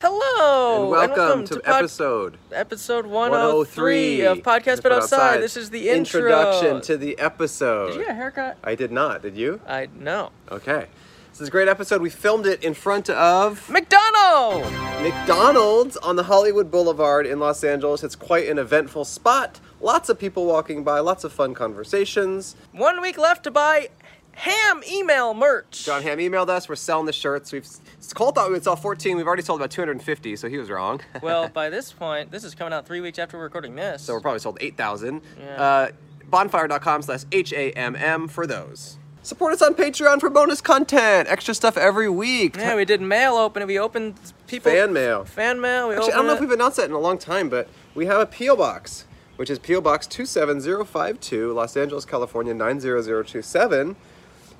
and Oh, welcome, to, pod- episode episode 103 103 of Podcast But Outside. This is the intro. Introduction to the episode. Did you get a haircut? I did not. Did you? I know. Okay. This is a great episode. We filmed it in front of McDonald! McDonald's on the Hollywood Boulevard in Los Angeles. It's quite an eventful spot. Lots of people walking by, lots of fun conversations. One week left to buy ham email merch. John Hamm emailed us. We're selling the shirts. We've Cole thought we would sell 14. We've already sold about 250, so he was wrong. well, by this point, this is coming out three weeks after we're recording this. So we're probably sold 8,000. Yeah. Uh, bonfire.com slash H-A-M-M for those. Support us on Patreon for bonus content, extra stuff every week. yeah, we did mail open and we opened people. Fan mail. Fan mail. We Actually, I don't opened know if it. we've announced that in a long time, but we have a P.O. Box, which is P.O. Box 27052, Los Angeles, California 90027.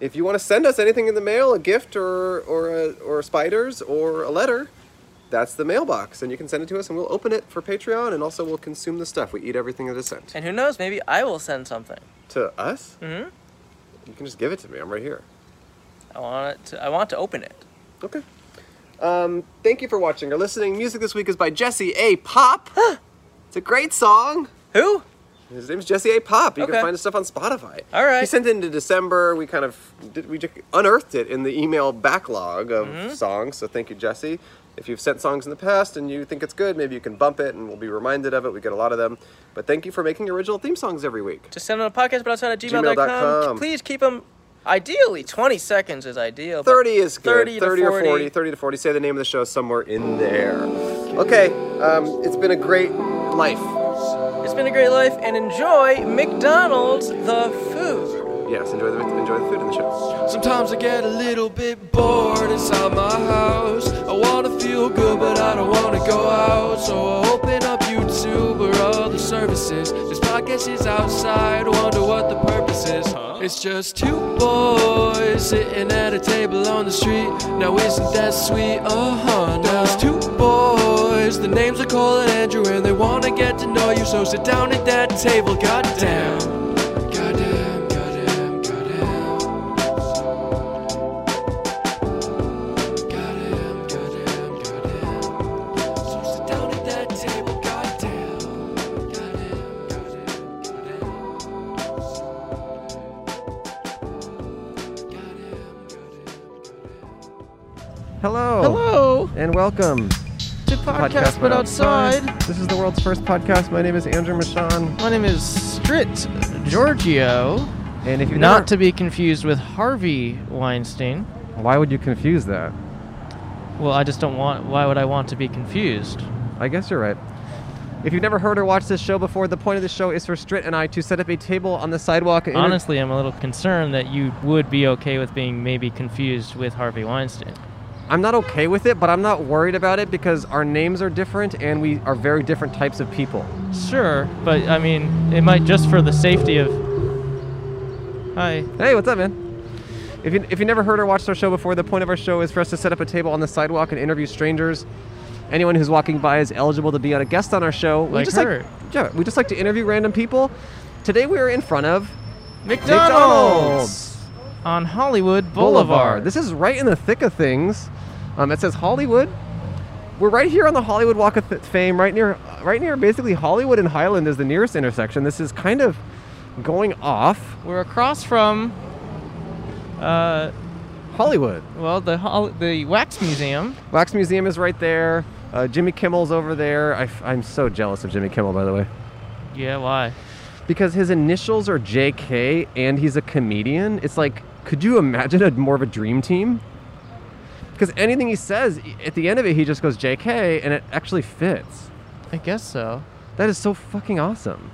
If you want to send us anything in the mail, a gift or, or, a, or spiders or a letter, that's the mailbox. And you can send it to us and we'll open it for Patreon and also we'll consume the stuff. We eat everything that is sent. And who knows, maybe I will send something. To us? Mhm. You can just give it to me. I'm right here. I want it to, I want to open it. Okay. Um, thank you for watching or listening. Music this week is by Jesse A. Pop. it's a great song. Who? His name's Jesse A. Pop. You Okay. can find his stuff on Spotify. All right. He sent it into December. We kind of did, we just unearthed it in the email backlog of Mm-hmm. songs. So thank you, Jesse. If you've sent songs in the past and you think it's good, maybe you can bump it and we'll be reminded of it. We get a lot of them. But thank you for making original theme songs every week. Just send them to podcast, but outside at gmail.com. gmail.com. Please keep them. Ideally, 20 seconds is ideal. but 30 is good. 30 30, to or 40, 30 to 40. Say the name of the show somewhere in there. Okay, um, it's been a great life. It's been a great life, and enjoy McDonald's the food. Yes, enjoy the, enjoy the food in the show. Sometimes I get a little bit bored inside my house. I wanna feel good, but I don't wanna go out. So I open up YouTube or other services. This podcast is outside, wonder what the purpose is. It's just two boys sitting at a table on the street. Now isn't that sweet? Uh huh. Now it's two boys. The names are Cole and Andrew, and they wanna get to know you. So sit down at that table, goddamn. Goddamn, goddamn, goddamn. Goddamn, goddamn, goddamn. So sit down at that table, goddamn. Goddamn, goddamn, goddamn. Goddamn, goddamn, goddamn. Hello. Hello And welcome. to Podcast But Outside. This is the world's first podcast. My name is Andrew Michon. My name is Strit Giorgio, And if you not to be confused with Harvey Weinstein. Why would you confuse that? Well, I just don't want. Why would I want to be confused? I guess you're right. If you've never heard or watched this show before, the point of the show is for Strit and I to set up a table on the sidewalk. and inter- Honestly, I'm a little concerned that you would be okay with being maybe confused with Harvey Weinstein. I'm not okay with it, but I'm not worried about it because our names are different and we are very different types of people. Sure, but I mean, it might just for the safety of. Hi. Hey, what's up, man? If you, if you never heard or watched our show before, the point of our show is for us to set up a table on the sidewalk and interview strangers. Anyone who's walking by is eligible to be on a guest on our show. We Like just her. like yeah, we just like to interview random people. Today we are in front of McDonald's! On Hollywood Boulevard. This is right in the thick of things. Um, it says Hollywood. We're right here on the Hollywood Walk of Th- Fame, right near, right near basically Hollywood and Highland is the nearest intersection. This is kind of going off We're across from. um, Uh, Hollywood. well, the hol- the wax museum. Wax Museum is right there. Uh, Jimmy Kimmel's over there. I, am so jealous of Jimmy Kimmel, by the way, Yeah, why? because his initials are J.K. and he's a comedian. It's like, could you imagine a more of a dream team? Because anything he says at the end of it, he just goes J.K. and it actually fits. I guess so. That is so fucking awesome.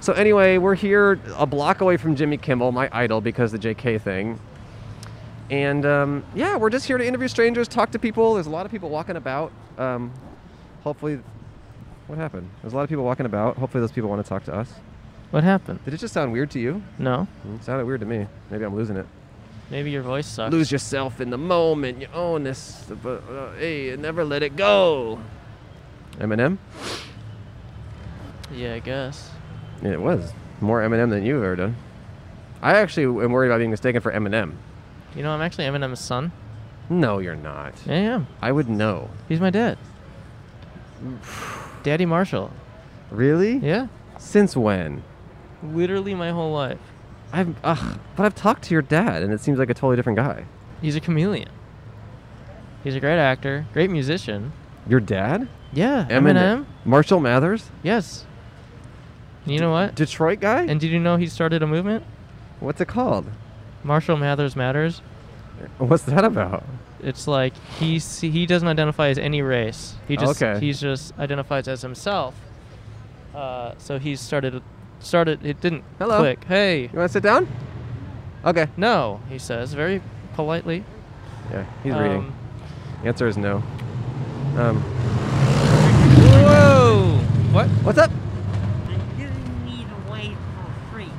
So anyway, we're here a block away from Jimmy Kimmel, my idol, because of the JK thing. And um, yeah, we're just here to interview strangers, talk to people. There's a lot of people walking about. Um, hopefully, what happened? There's a lot of people walking about. Hopefully, those people want to talk to us. What happened? Did it just sound weird to you? No. It sounded weird to me. Maybe I'm losing it. Maybe your voice sucks. Lose yourself in the moment. You own this. uh, uh, hey, and never let it go. Eminem. Yeah, I guess. It was more Eminem than you've ever done. I actually am worried about being mistaken for Eminem. You know, I'm actually Eminem's son. No, you're not. Yeah, I am. I would know. He's my dad. Daddy Marshall. Really? Yeah. Since when? Literally my whole life. I've ugh, but I've talked to your dad, and it seems like a totally different guy. He's a chameleon. He's a great actor, great musician. Your dad? Yeah. Eminem. Marshall Mathers, Yes. You know what? Detroit guy. And did you know he started a movement? What's it called? Marshall Mathers Matters. What's that about? It's like he s- he doesn't identify as any race. He just Okay. he's just identifies as himself. Uh, so he started started it didn't Hello. click. Hey, You want to sit down? Okay. no, he says very politely. Yeah, he's reading. Um, The answer is no. Um, Whoa! What? what's up? You need a way for free. You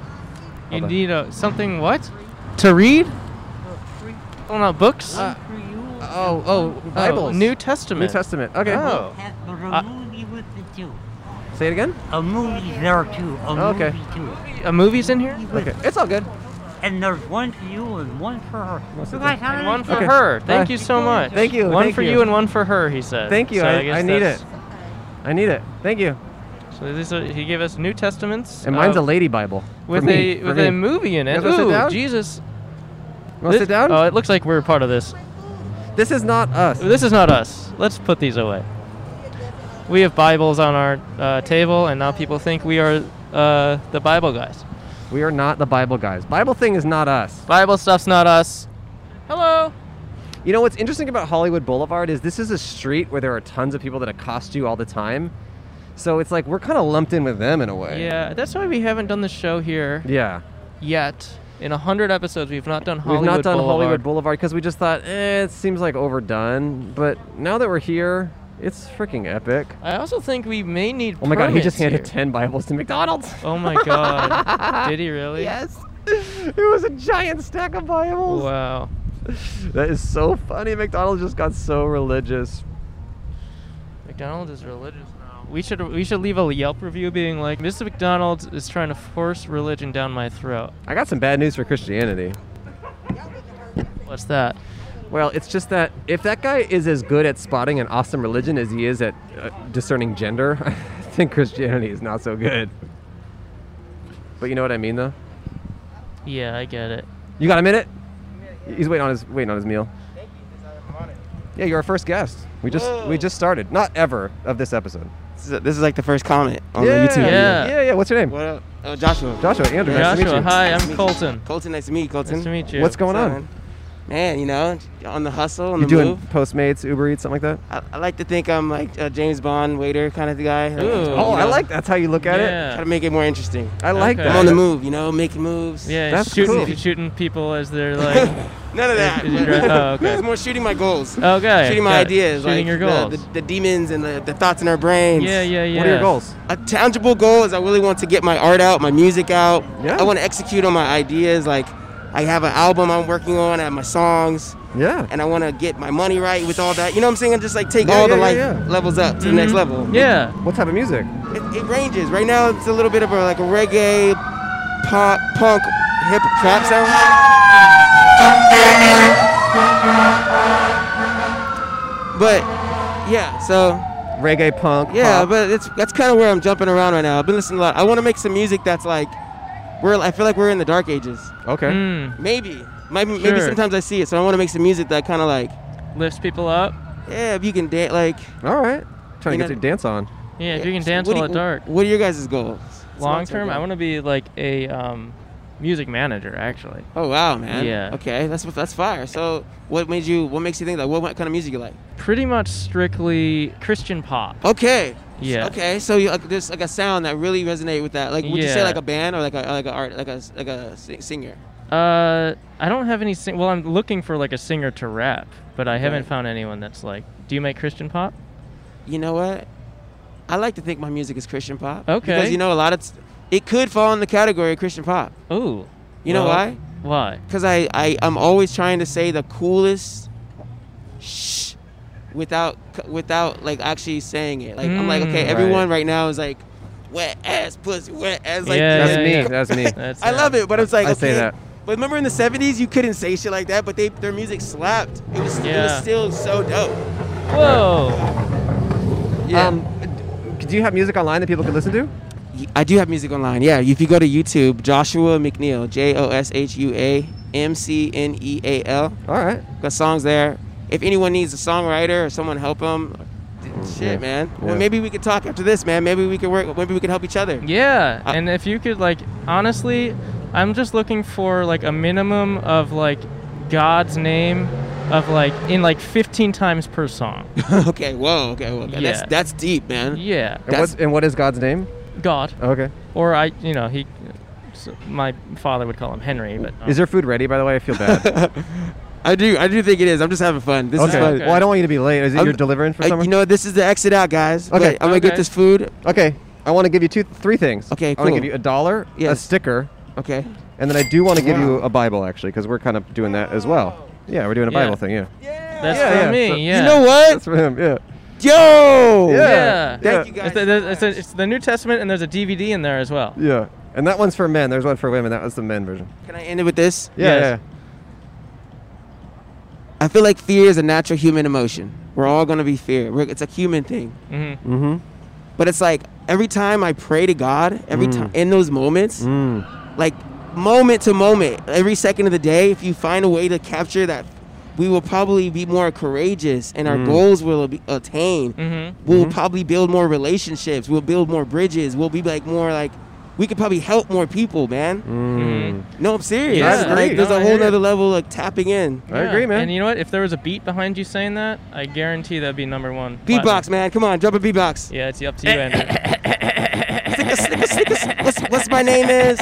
Hold on. need a something what? To read? For free. Oh, not books. One for you. and Uh, oh, one oh, for Bibles. New Testament. New Testament. Okay. Oh. Have a Uh, movie with the two. Say it again. A movie there too. A Okay. movie too. A movie's in here. Movie with- Okay. It's all good. And there's one for you and one for her. What's You it guys say? have One it? for Okay. her. Thank Bye. you so much. Thank you, One thank for you. you. and one for her. He said. Thank you. So I, guess I need that's- it. I need it. Thank you. So these are, he gave us New Testaments. And mine's a uh, lady Bible. with for me, a for with me. a movie in You it. guys wanna sit Ooh, down? Jesus. You want to This- sit down? Oh, it looks like we're part of this. this is not us. This is not us. Let's put these away. We have Bibles on our uh, table, and now people think we are uh, the Bible guys. We are not the Bible guys. Bible thing is not us. Bible stuff's not us. Hello. You know what's interesting about Hollywood Boulevard is this is a street where there are tons of people that accost you all the time. So it's like we're kind of lumped in with them in a way. Yeah, that's why we haven't done the show here Yeah. yet. In a hundred episodes, we've not done Hollywood We've not done Boulevard. Hollywood Boulevard because we just thought, eh, it seems like overdone. But now that we're here, it's freaking epic. I also think we may need. Oh my god, he just permits handed here. 10 Bibles to McDonald's. Oh my god. Did he really? yes. It was a giant stack of Bibles. Wow. That is so funny. McDonald's just got so religious. McDonald's is religious now. We should we should leave a Yelp review being like, Mr. McDonald's is trying to force religion down my throat. I got some bad news for Christianity. What's that? Well, it's just that if that guy is as good at spotting an awesome religion as he is at uh, discerning gender, I think Christianity is not so good. But you know what I mean, though. Yeah, I get it. You got a minute? He's waiting on his waiting on his meal. Yeah, you're our first guest. We just we just started. Not ever of this episode. This is, this is like the first comment on yeah, the YouTube. Yeah. yeah, yeah. What's your name? What up? Oh, Joshua. Joshua. Andrew. nice to meet Joshua, you. Nice hi, to I'm meet you. Colton. Colton, nice to meet you, Colton. Nice to meet you. What's going What's up, on? Man, Man, you know, on the hustle, on You the doing move. Postmates, Uber Eats, something like that? I, I like to think I'm like a James Bond waiter kind of guy. Like, Ooh. you Oh, I know, like that's how you look at it. yeah. Try to make it more interesting. I like Okay. that. I'm on the move, you know, making moves. Yeah, That's shooting cool. shooting people as they're like None of that. Is- is your- oh, okay. It's more shooting my goals. Okay. Shooting my got it. ideas. Shooting like your the- goals. The, the demons and the, the thoughts in our brains. yeah, yeah, yeah. What are your goals? a tangible goal is I really want to get my art out, my music out. Yeah. I want to execute on my ideas. Like I have an album I'm working on, I have my songs, Yeah. and I want to get my money right with all that. You know what I'm saying? I just like take Yeah, all yeah, the yeah, life yeah. levels up to the next level. Yeah. What type of music? It, it ranges. Right now it's a little bit of a like a reggae, pop, punk, hip trap sound. But yeah, so Reggae, punk. yeah, pop. but it's that's kind of where I'm jumping around right now. I've been listening a lot. I want to make some music that's like, we're I feel like we're in the dark ages. okay. Mm, Maybe, maybe, Sure. maybe sometimes I see it. So I want to make some music that kind of like, lifts people up. yeah, if you can dance, like, All right. Trying You know- to get your dance on. Yeah, if yeah. you can So dance what do till you- it's dark. What are your guys' goals? Long term, I want to be like a um, music manager actually. Oh wow, man. Yeah. Okay, that's what that's fire. So what made you? What makes you think that? What, what kind of music you like? Pretty much strictly Christian pop. Okay. Yeah. Okay, so you, like, there's like a sound that really resonated with that. Like, would you say Yeah. like a band or like a like a art like a like a sing- singer? Uh, I don't have any. Sing- well, I'm looking for like a singer to rap, but I haven't Right. found anyone that's like. Do you make Christian pop? you know what? I like to think my music is Christian pop. Okay. Because you know a lot of, it could fall in the category of Christian pop. Ooh. You know Well, why? Why? Because I, I I'm always trying to say the coolest shh without c- without like actually saying it. Like I'm like Mm. okay, everyone Right. right now is like wet ass pussy, wet ass like. Yeah, That's yeah, me. yeah. That's me. That's I love it, but it's like I okay. say that. But remember in the '70s, you couldn't say shit like that, but they their music slapped. It was, it Yeah. was still so dope. Whoa. Yeah. Yeah. Um, d- do you have music online that people can listen to? I do have music online. Yeah, if you go to YouTube, Joshua McNeil, J O S H U A M C N E A L, All right. got songs there. If anyone needs a songwriter or someone help them, shit, Mm, yeah. man. Well, Yeah. maybe we could talk after this, man. Maybe we could work. Maybe we could help each other. Yeah, I- and if you could like honestly, I'm just looking for like a minimum of like God's name of like in like 15 times per song. okay. Whoa. Okay. Whoa, okay. Yeah. That's that's deep, man. yeah. And, That's- what, and what is God's name? God Okay. or I, you know, he so my father would call him Henry, but um, Is your food ready? By the way, I feel bad. I do. I do think it is. I'm just having fun. This okay. is fun. Okay. Well, I don't want you to be late. Is it I'm- you're delivering for I- someone? you know, this is the exit out, guys. Okay. Like, I'm gonna Okay. get this food. okay. I want to give you two, three things. Okay, I want to cool. give you a dollar, a Yes. sticker, Okay. and then I do want to give you a Bible actually, because we're kind of doing that as well. Yeah, we're doing a Yeah. Bible thing. Yeah. that's yeah, for yeah, me. so- yeah. You know what? That's for him. Yeah. Yo. Oh, Yeah. Yeah. Yeah. Thank you It's guys. the, the- it's the- it's the New Testament, and there's a DVD in there as well. Yeah. And that one's for men. There's one for women. That was the men version. Can I end it with this? Yeah. Yes. I feel like fear is a natural human emotion. We're all gonna be fear. We're, it's a human thing. hmm yeah. Mm-hmm. But it's like every time I pray to God, every time in those moments, Mm. like moment to moment, every second of the day, if you find a way to capture that, we will probably be more courageous and Mm. our goals will be attained. Mhm. We'll Mm-hmm. probably build more relationships. We'll build more bridges. We'll be like more like, we could probably help more people, man. Mm. No, I'm serious. Yeah, I agree. Like, there's No, I a whole hear nother it. level of tapping in. I agree, man. And you know what? If there was a beat behind you saying that, I guarantee that'd be number one. platinum. Beatbox, man. Come on, drop a beatbox. Yeah, it's up to you, Andrew. what's, what's my name is?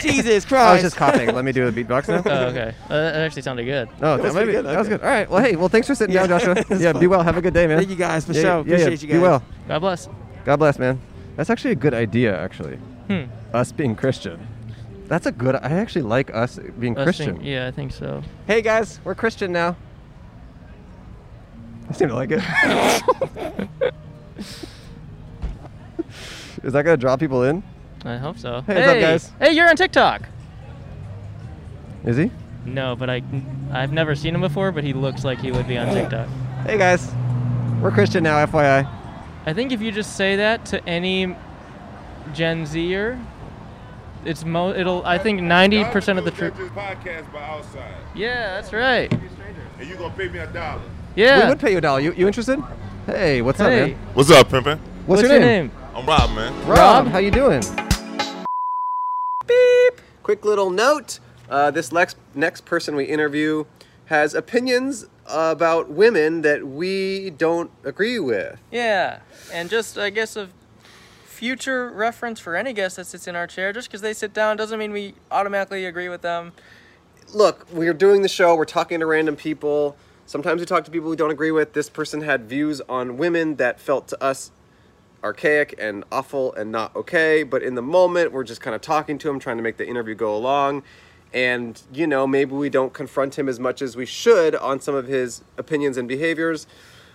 Jesus Christ. I was just coughing. Let me do a beatbox now. oh, okay. Uh, that actually sounded good. No, that, might be- that was good. All right. Well, hey, well, thanks for sitting down, Joshua. yeah, be well. Have a good day, man. Thank you guys for yeah, sure. yeah, yeah, Appreciate you guys. Be well. God bless. God bless, man. That's actually a good idea, actually. Hmm. Us being Christian. That's a good. I actually like us being Us Christian. think- yeah, I think so. Hey guys, we're Christian now. You seem to like it. Is that gonna draw people in? I hope so. Hey, what's up, guys? Hey, you're on TikTok. Is he? No, but I, I've never seen him before, but he looks like he would be on TikTok. Hey guys, we're Christian now, FYI. I think if you just say that to any Gen Zer, it's mo. It'll. I think 90% of the truth. podcast by outside, Yeah, that's right. and you gonna pay me a dollar. Yeah. We would pay you a dollar. You, you interested? Hey, what's hey, up, man? What's up, pimpin'? What's, your, name? I'm Rob, man. Rob, Rob. how you doing? Quick little note: uh, this lex- next person we interview has opinions about women that we don't agree with. Yeah, and just I guess of future reference for any guest that sits in our chair, just because they sit down doesn't mean we automatically agree with them. Look, we're doing the show. We're talking to random people. Sometimes we talk to people we don't agree with. This person had views on women that felt to us archaic and awful and not okay. But in the moment, we're just kind of talking to him, trying to make the interview go along. And, you know, maybe we don't confront him as much as we should on some of his opinions and behaviors.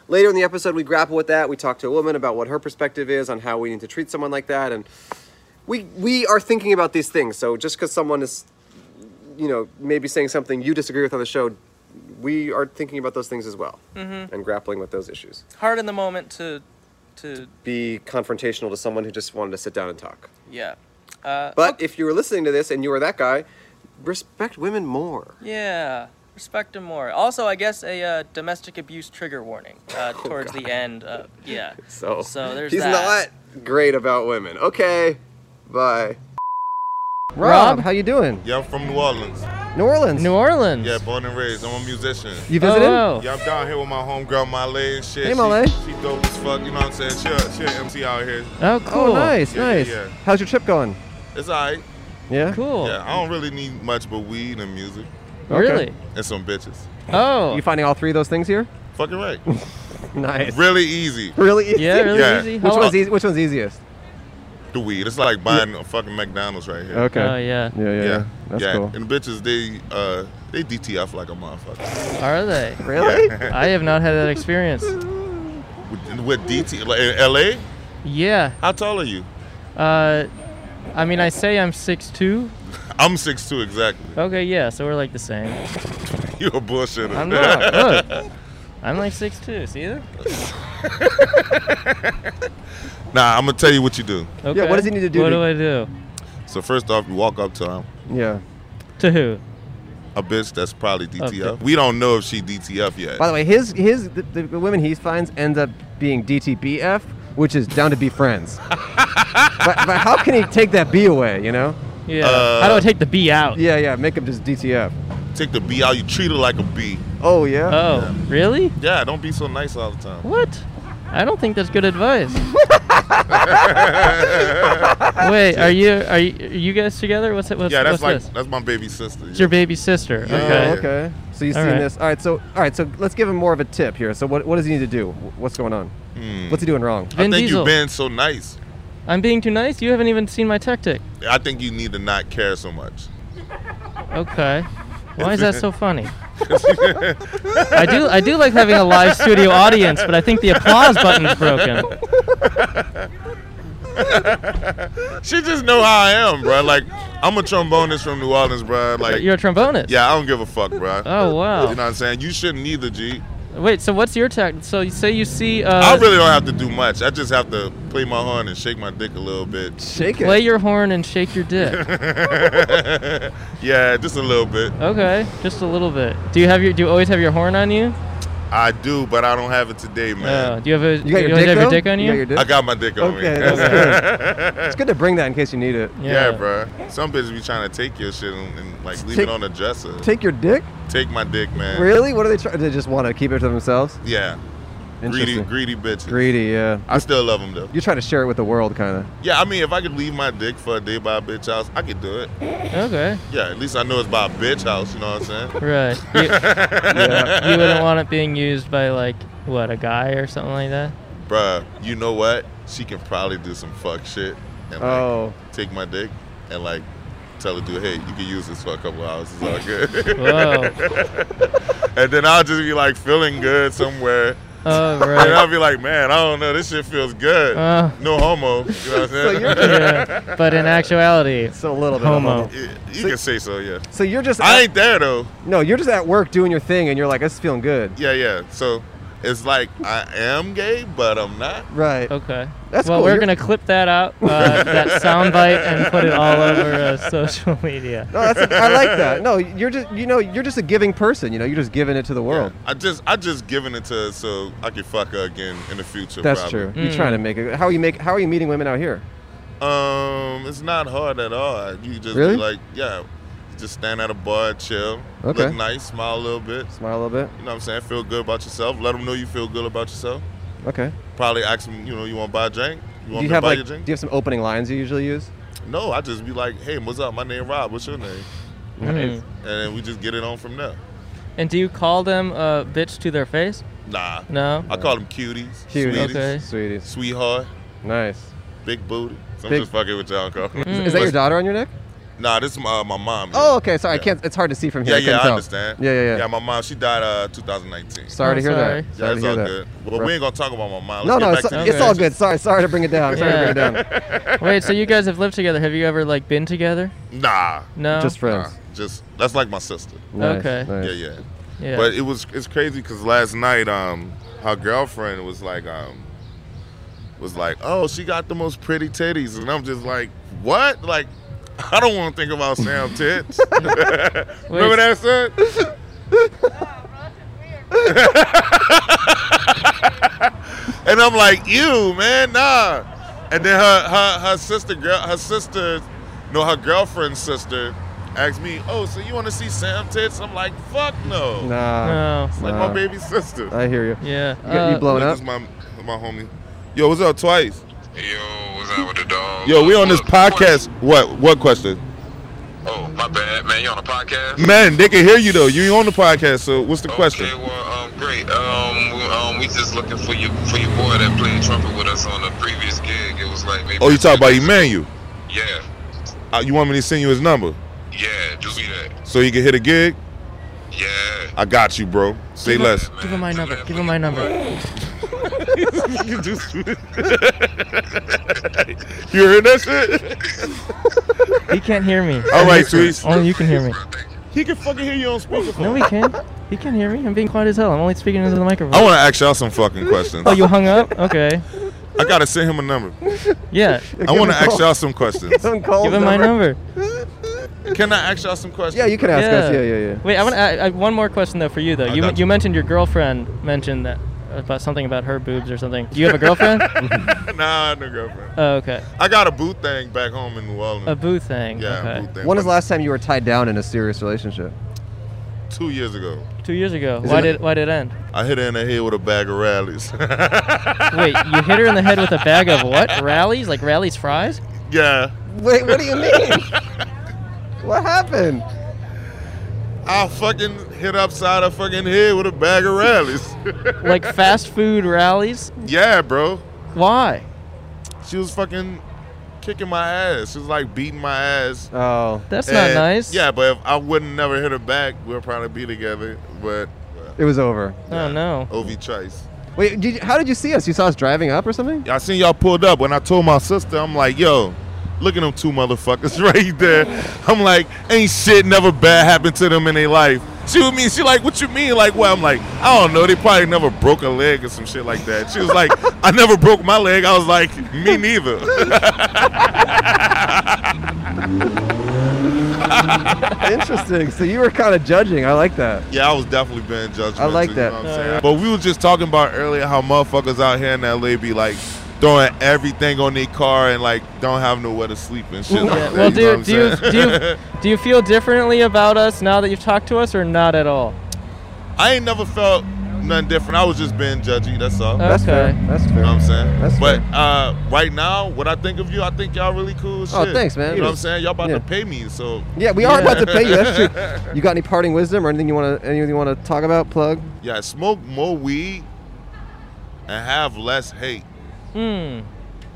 Later in the episode, we grapple with that. We talk to a woman about what her perspective is on how we need to treat someone like that. And we, we are thinking about these things. So just because someone is, you know, maybe saying something you disagree with on the show, we are thinking about those things as well Mm-hmm. and grappling with those issues. Mm-hmm. Hard in the moment to, to Be confrontational to someone who just wanted to sit down and talk. yeah, uh, But if you were listening to this and you were that guy, respect women more. yeah. Respect him more. Also, I guess a uh, domestic abuse trigger warning uh, towards the end. Uh, yeah. So, So there's he's that. not great about women. Okay, bye. Rob, how you doing? Yeah, I'm from New Orleans. New Orleans. New Orleans. Yeah, born and raised. I'm a musician. You visited? Oh, wow. Yeah, I'm down here with my homegirl Malay and shit. Hey, She- Malay. She, dope as fuck. You know what I'm saying? She a, she a MC out here. oh, cool. Oh, nice, Yeah, yeah, nice. yeah. How's your trip going? It's alright. Yeah. Cool. Yeah, I don't really need much but weed and music Okay. Really? and some bitches. Oh. You finding all three of those things here? Fucking right. Nice. really easy. Really easy. yeah, really Yeah. easy. Which Which How- one's easy, Which one's easiest? The weed. It's like buying a fucking McDonald's right here. Okay. Oh yeah. Yeah, yeah, yeah. That's yeah. cool. And bitches, they uh, they DTF like a motherfucker. Are they? Really? Yeah. I have not had that experience. with, with DT, like in LA. Yeah. How tall are you? Uh, I mean, I say I'm 6'2". I'm 6'2 exactly. Okay, yeah, so we're like the same. You a bullshitter. I'm not. Look. I'm like 6'2". See that? Nah, I'm gonna tell you what you do. Okay. what does he need to do What to- do I do? So first off, you walk up to her, Yeah. To who? a bitch that's probably DTF. Okay. We don't know if she DTF yet. By the way, his his the, the women he finds ends up being DTBF, which is down to be friends. but, but how can he take that B away? You know? Yeah. Uh, How do I take the B out? Yeah, yeah. Make him just DTF. Take the B out. You treat her like a B. Oh yeah. Oh, really? Yeah, don't be so nice all the time. What? I don't think that's good advice. Wait, are you are you, are you guys together? What's it? What's, yeah, that's like what's this? that's my baby sister. It's your baby sister. Uh, Yeah. Okay. Oh, okay. So you've All seen right. this. All right. So all right. So let's give him more of a tip here. So what, what does he need to do? Wh- What's going on? Hmm. What's he doing wrong? I Vin think Diesel. you've been so nice. I'm being too nice. You haven't even seen my tactic. I think you need to not care so much. Okay. Why is that so funny? I do I do like having a live studio audience, but I think the applause button's broken. She just know how I am, bro. Like I'm a trombonist from New Orleans, bro. Like You're a trombonist. yeah, I don't give a fuck, bro. Oh wow. You know what I'm saying? You shouldn't either, G. Wait. So what's your tactic? So you say you see. Uh, I really don't have to do much. I just have to play my horn and shake my dick a little bit. Shake it. Play your horn and shake your dick. yeah, just a little bit. Okay, just a little bit. Do you have your? Do you always have your horn on you? I do, but I don't have it today, Uh, man. do you have a? You got your always dick, have though? your dick on you? got your dick? I got my dick on Okay, me. that's good. It's good to bring that in case you need it. yeah, bro. Some bitches be trying to take your shit and, and, like leave Take- it on the dresser. Take, Take your dick? my dick, man. Really? What are they trying? They just want to keep it to themselves? Yeah. Greedy, Interesting. greedy bitches. Greedy, yeah. I still love them though. You're trying to share it with the world, kind of. Yeah, I mean, if I could leave my dick for a day by a bitch house, I could do it. Okay, Yeah, at least I know it's by a bitch house. You know what I'm saying? right. You, you wouldn't want it being used by like what a guy or something like that. Bruh, you know what? She can probably do some fuck shit and like Oh. take my dick and like tell the dude, hey, you can use this for a couple hours. It's all good. Whoa. and then I'll just be like feeling good somewhere. Oh And I'll right. be like, man, I don't know. This shit feels good. Uh. no homo. You know what I'm saying? Yeah. But in actuality, So a little bit. Homo. of homo. Yeah, you can say so, yeah. So you're just. I ain't there though. no, you're just at work doing your thing, and you're like, "This is feeling good." Yeah, yeah. So it's like I am gay, but I'm not. Right. okay. That's well, cool. we're You're- gonna clip that out, uh, that soundbite, and put it all over uh, social media. No, that's I like that. No, you're just you know you're just a giving person. You know, you're just giving it to the world. Yeah. I just I just giving it to her so I can fuck her again in the future. That's probably. true. You're trying to make it. How are you make? How are you meeting women out here? Um, it's not hard at all. You just Really? be like, yeah, just stand at a bar, chill, Okay. look nice, smile a little bit. Smile a little bit. You know what I'm saying? Feel good about yourself. Let them know you feel good about yourself. Okay. Probably ask them, you know, you want to buy a drink? You Do want me you to have buy like? you a Do drink? you have some opening lines you usually use? no, I just be like, hey, what's up? My name Rob. What's your name? Mm. Nice. And then we just get it on from there. And do you call them uh, bitch to their face? Nah. No. I call them cuties, Cute. sweeties, Okay. Sweeties. sweetheart, Nice. big booty. So Big- I'm just fucking with y'all, Mm. call. Is, is that your daughter on your neck? Nah, this is my, uh, my mom. yeah. Oh, okay. Sorry, I Yeah. can't. It's hard to see from here. Yeah, I couldn't yeah, I tell. understand. Yeah, yeah, yeah. Yeah, my mom, she died uh 2019. Sorry Oh, to hear sorry. that. Yeah, Sorry to it's hear all that. good. Well, we ain't gonna talk about my mom. No, Let's no, get it's, back to it's the all music. Oh, good. Sorry, sorry to bring it down. Sorry to bring it down. Wait. So you guys have lived together. Have you ever like been together? Nah, No. Just nah, friends. just that's like my sister. Nice, Okay. nice. Yeah, yeah, yeah. But it was it's crazy because last night, um, her girlfriend was like, um, was like, oh, she got the most pretty titties, and I'm just like, what? Like, I don't want to think about Sam tits. Remember that son? and I'm like, you man, nah. And then her her, her sister girl her sister no her girlfriend's sister asked me, Oh, so you wanna see Sam Tits? I'm like, fuck no. Nah, No. It's like nah. my baby sister. Oh. I hear you. Yeah. You, got, you uh, blowing Look, up? this my my homie. Yo, what's up twice? Yo, what's up with the dog? Yo, we on this podcast. What what question? Oh, my bad, man. You on a podcast? Man, they can hear you though. You on the podcast, so what's the question? Okay, well, um, great. Um, we, um, we just looking for you for your boy that played trumpet with us on the previous gig. It was like maybe. Oh, you talking about Emmanuel. Yeah, Uh, you want me to send you his number yeah. Do me that. so he can hit a gig? Yeah. I got you, bro. Say less. Give him my number. Give him my number. You heard that shit? He can't hear me. All right, Sweets. Only you can hear me. Thank you. He can fucking hear you on speakerphone. No, he can't. He can hear me. I'm being quiet as hell. I'm only speaking into the microphone. I want to ask y'all some fucking questions. Oh, you hung up? Okay. I gotta send him a number. Yeah. I want to ask y'all some questions. Cole's Give him my number. Can I ask y'all some questions? Yeah, you can ask us. Yeah, yeah, yeah. Wait, I want to. One more question though for you though. I You got you you. mentioned your girlfriend mentioned that about something about her boobs or something. Do you have a girlfriend? nah, no girlfriend. oh, okay. I got a boot thing back home in New Orleans. A boo thing. yeah, a Okay. boot thing. When was the last time you were tied down in a serious relationship? Two years ago, Two years ago. Is why it- did why did it end? I hit her in the head with a bag of rallies. Wait, you hit her in the head with a bag of what? Rallies? Like rallies fries? yeah, Wait, what do you mean? what happened? I fucking hit upside her fucking head with a bag of rallies. Like fast food rallies? yeah, bro. Why? She was fucking kicking my ass. She was like beating my ass. Oh, That's not And- nice. Yeah, but if I wouldn't never hit her back, we'll probably be together. But uh, it was over. Oh no. OV choice. Wait, did you, how did you see us? You saw us driving up or something? I seen y'all pulled up. When I told my sister, I'm like, yo, look at them two motherfuckers right there. I'm like, ain't shit never bad happened to them in their life. She with me, she like, what you mean? Like, what? I'm like, I don't know. They probably never broke a leg or some shit like that. She was like, I never broke my leg. I was like, me neither. Interesting. So you were kind of judging. I like that. yeah, I was definitely being judgmental. I like you that. know what I'm saying? But we were just talking about earlier how motherfuckers out here in LA be like throwing everything on their car and like don't have nowhere to sleep and shit like Yeah, that. well, you know what do, I'm do, you, saying? do, you, do you feel differently about us now that you've talked to us or not at all? I ain't never felt nothing different. I was just being judgy. That's all. Uh, That's fair. Okay. That's you fair. know what I'm saying? That's but fair. uh, right now, what I think of you, I think y'all really cool. as Shit. Oh, thanks, man. You know what I'm saying? Y'all about Yeah. to pay me, so Yeah, we are Yeah. about to pay you. That's true. You got any parting wisdom or anything you want to anything you want to talk about? Plug. yeah, smoke more weed and have less hate, Hmm.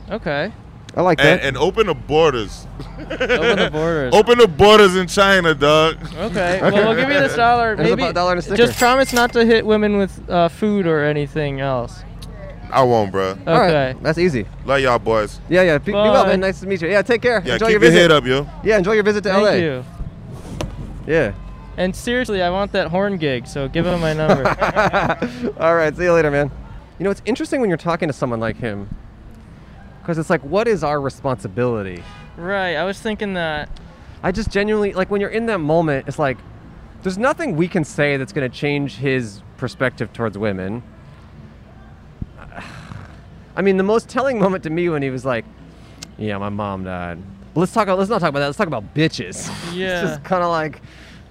Okay. I like and, that. and open the borders. Open the borders. Open the borders in China, dog. Okay. Well, we'll give you this dollar. There's a Maybe bu- dollar and a sticker. just promise not to hit women with uh, food or anything else. I won't, bruh. Okay. All right, that's easy. Love y'all, boys. Yeah, yeah. Be, be well, Bye. man. Nice to meet you. Yeah, take care. Yeah, enjoy keep your your, visit. head up, yo. Yeah, enjoy your visit to Thank LA. you. Yeah. And seriously, I want that horn gig, so give him my number. All right, see you later, man. You know, it's interesting when you're talking to someone like him, because it's like, what is our responsibility? right. I was thinking that. I just genuinely like when you're in that moment, it's like there's nothing we can say that's going to change his perspective towards women. I mean, the most telling moment to me when he was like, "Yeah, my mom died." Let's talk. Let's not talk about that. Let's talk about bitches. Yeah. it's just kind of like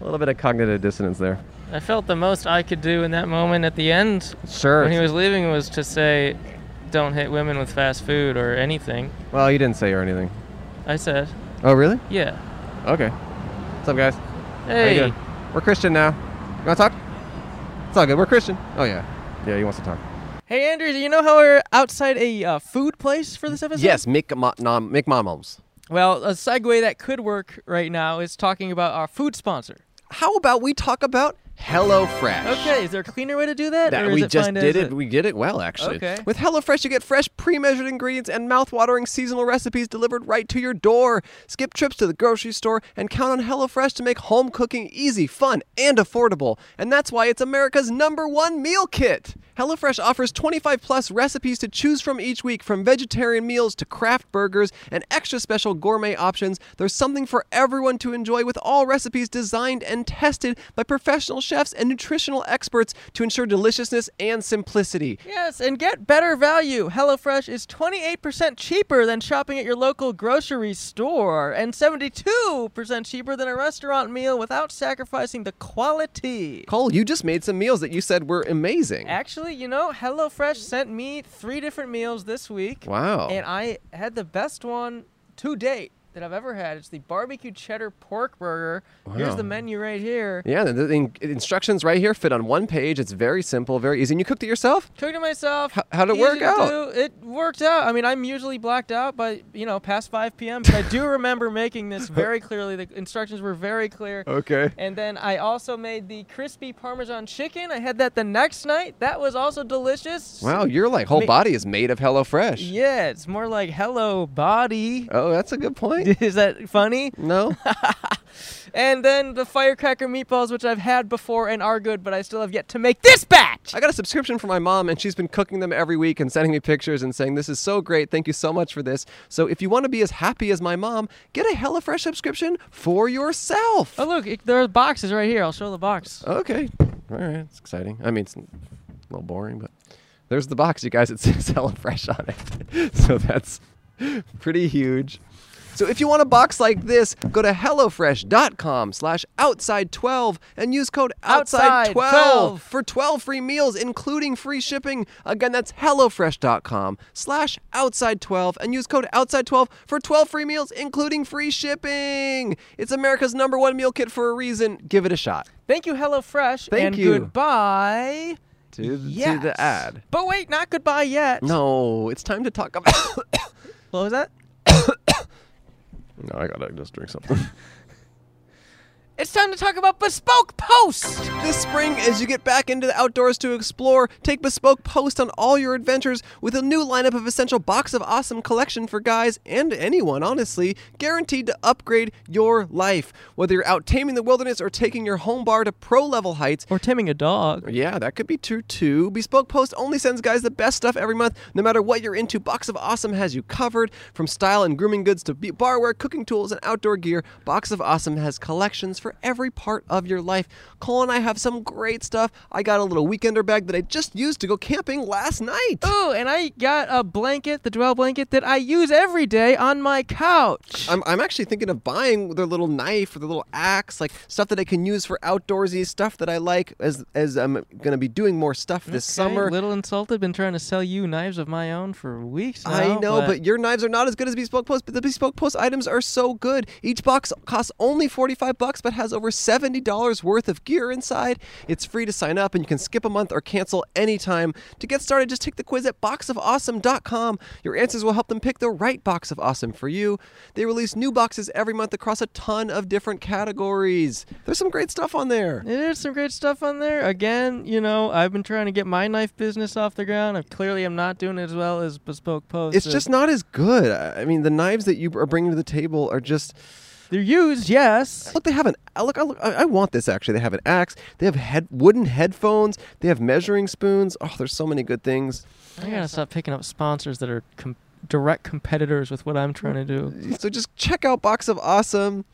a little bit of cognitive dissonance there. I felt the most I could do in that moment at the end Sure. when he was leaving was to say, "Don't hit women with fast food or anything." well, you didn't say or anything. I said, Oh, really? "Yeah." Okay. What's up, guys? How you Hey. doing? We're Christian now. You want to talk? It's all good. We're Christian. Oh yeah. Yeah, he wants to talk. Hey, Andrew. Do you know how we're outside a uh, food place for this episode? Yes, Mick Ma- nom- Mick Momos. Well, a segue that could work right now is talking about our food sponsor. How about we talk about HelloFresh? Okay, is there a cleaner way to do that? That or is we it just fine as did is? it. We did it well, actually. Okay. With HelloFresh, you get fresh, pre-measured ingredients and mouth-watering seasonal recipes delivered right to your door. Skip trips to the grocery store and count on HelloFresh to make home cooking easy, fun, and affordable. And that's why it's America's number one meal kit. HelloFresh offers 25 plus recipes to choose from each week, from vegetarian meals to craft burgers and extra special gourmet options. There's something for everyone to enjoy with all recipes designed and tested by professional chefs and nutritional experts to ensure deliciousness and simplicity. Yes, and get better value. HelloFresh is 28% cheaper than shopping at your local grocery store and 72% cheaper than a restaurant meal without sacrificing the quality. Cole, you just made some meals that you said were amazing. Actually, you know, HelloFresh sent me three different meals this week. Wow. And I had the best one to date that I've ever had. It's the barbecue cheddar pork burger. Here's the menu right here. Yeah, the, the in- instructions right here fit on one page. It's very simple, very easy. And you cooked it yourself? Cooked it myself. How- how'd it Easy work to out? do. It worked out. I mean, I'm usually blacked out by you know past 5 p.m. But I do remember making this very clearly. The instructions were very clear. Okay. And then I also made the crispy Parmesan chicken. I had that the next night. That was also delicious. Wow, your like whole Ma- body is made of HelloFresh. Yeah, it's more like hello body. Oh, that's a good point. Is that funny? No? And then the firecracker meatballs, which I've had before and are good, but I still have yet to make this batch. I got a subscription for my mom, and she's been cooking them every week and sending me pictures and saying, This is so great. Thank you so much for this. So, if you want to be as happy as my mom, get a HelloFresh subscription for yourself. Oh look, it, there are boxes right here. I'll show the box. Okay. All right. It's exciting. I mean, it's a little boring, but there's the box, you guys. It says HelloFresh on it. so, that's pretty huge. So if you want a box like this, go to HelloFresh.com slash outside12 and use code Outside outside12 for 12 free meals, including free shipping. Again, that's HelloFresh.com slash outside12 and use code outside12 for 12 free meals, including free shipping. It's America's number one meal kit for a reason. Give it a shot. Thank you, HelloFresh, Thank and you. goodbye. To the, Yes. to the ad. But wait, not goodbye yet. No, it's time to talk about. What was that? no, I gotta just drink something. It's time to talk about bespoke post. This spring, as you get back into the outdoors to explore, take Bespoke Post on all your adventures with a new lineup of essential Box of Awesome collection for guys and anyone, honestly, guaranteed to upgrade your life. Whether you're out taming the wilderness or taking your home bar to pro level heights, Or timing a dog. yeah, that could be true too. Bespoke Post only sends guys the best stuff every month. No matter what you're into, Box of Awesome has you covered. From style and grooming goods to be- barware, cooking tools, and outdoor gear, Box of Awesome has collections for every part of your life. Cole and I have some great stuff. I got a little weekender bag that I just used to go camping last night. Ooh, and I got a blanket, the dwell blanket that I use every day on my couch. I'm, I'm actually thinking of buying their little knife or their little axe, like stuff that I can use for outdoorsy stuff that I like. As as I'm gonna be doing more stuff this summer. little insulted. Been trying to sell you knives of my own for weeks now. I know, but your knives are not as good as Bespoke Post, but the Bespoke Post items are so good. Each box costs only 45 bucks but has over $70 worth of gear inside. It's free to sign up and you can skip a month or cancel anytime. To get started, just take the quiz at boxofawesome.com. Your answers will help them pick the right box of awesome for you. They release new boxes every month across a ton of different categories. There's some great stuff on there. There's some great stuff on there. Again, you know, I've been trying to get my knife business off the ground. I clearly am not doing it as well as Bespoke Post. It's is. just not as good. I I mean, the knives that you are bringing to the table are just they're used, yes. Look, they have an I look. I, look, I I want this actually. They have an axe. They have head wooden headphones. They have measuring spoons. Oh, there's so many good things. I gotta stop picking up sponsors that are com- direct competitors with what I'm trying to do. So just check out Box of Awesome.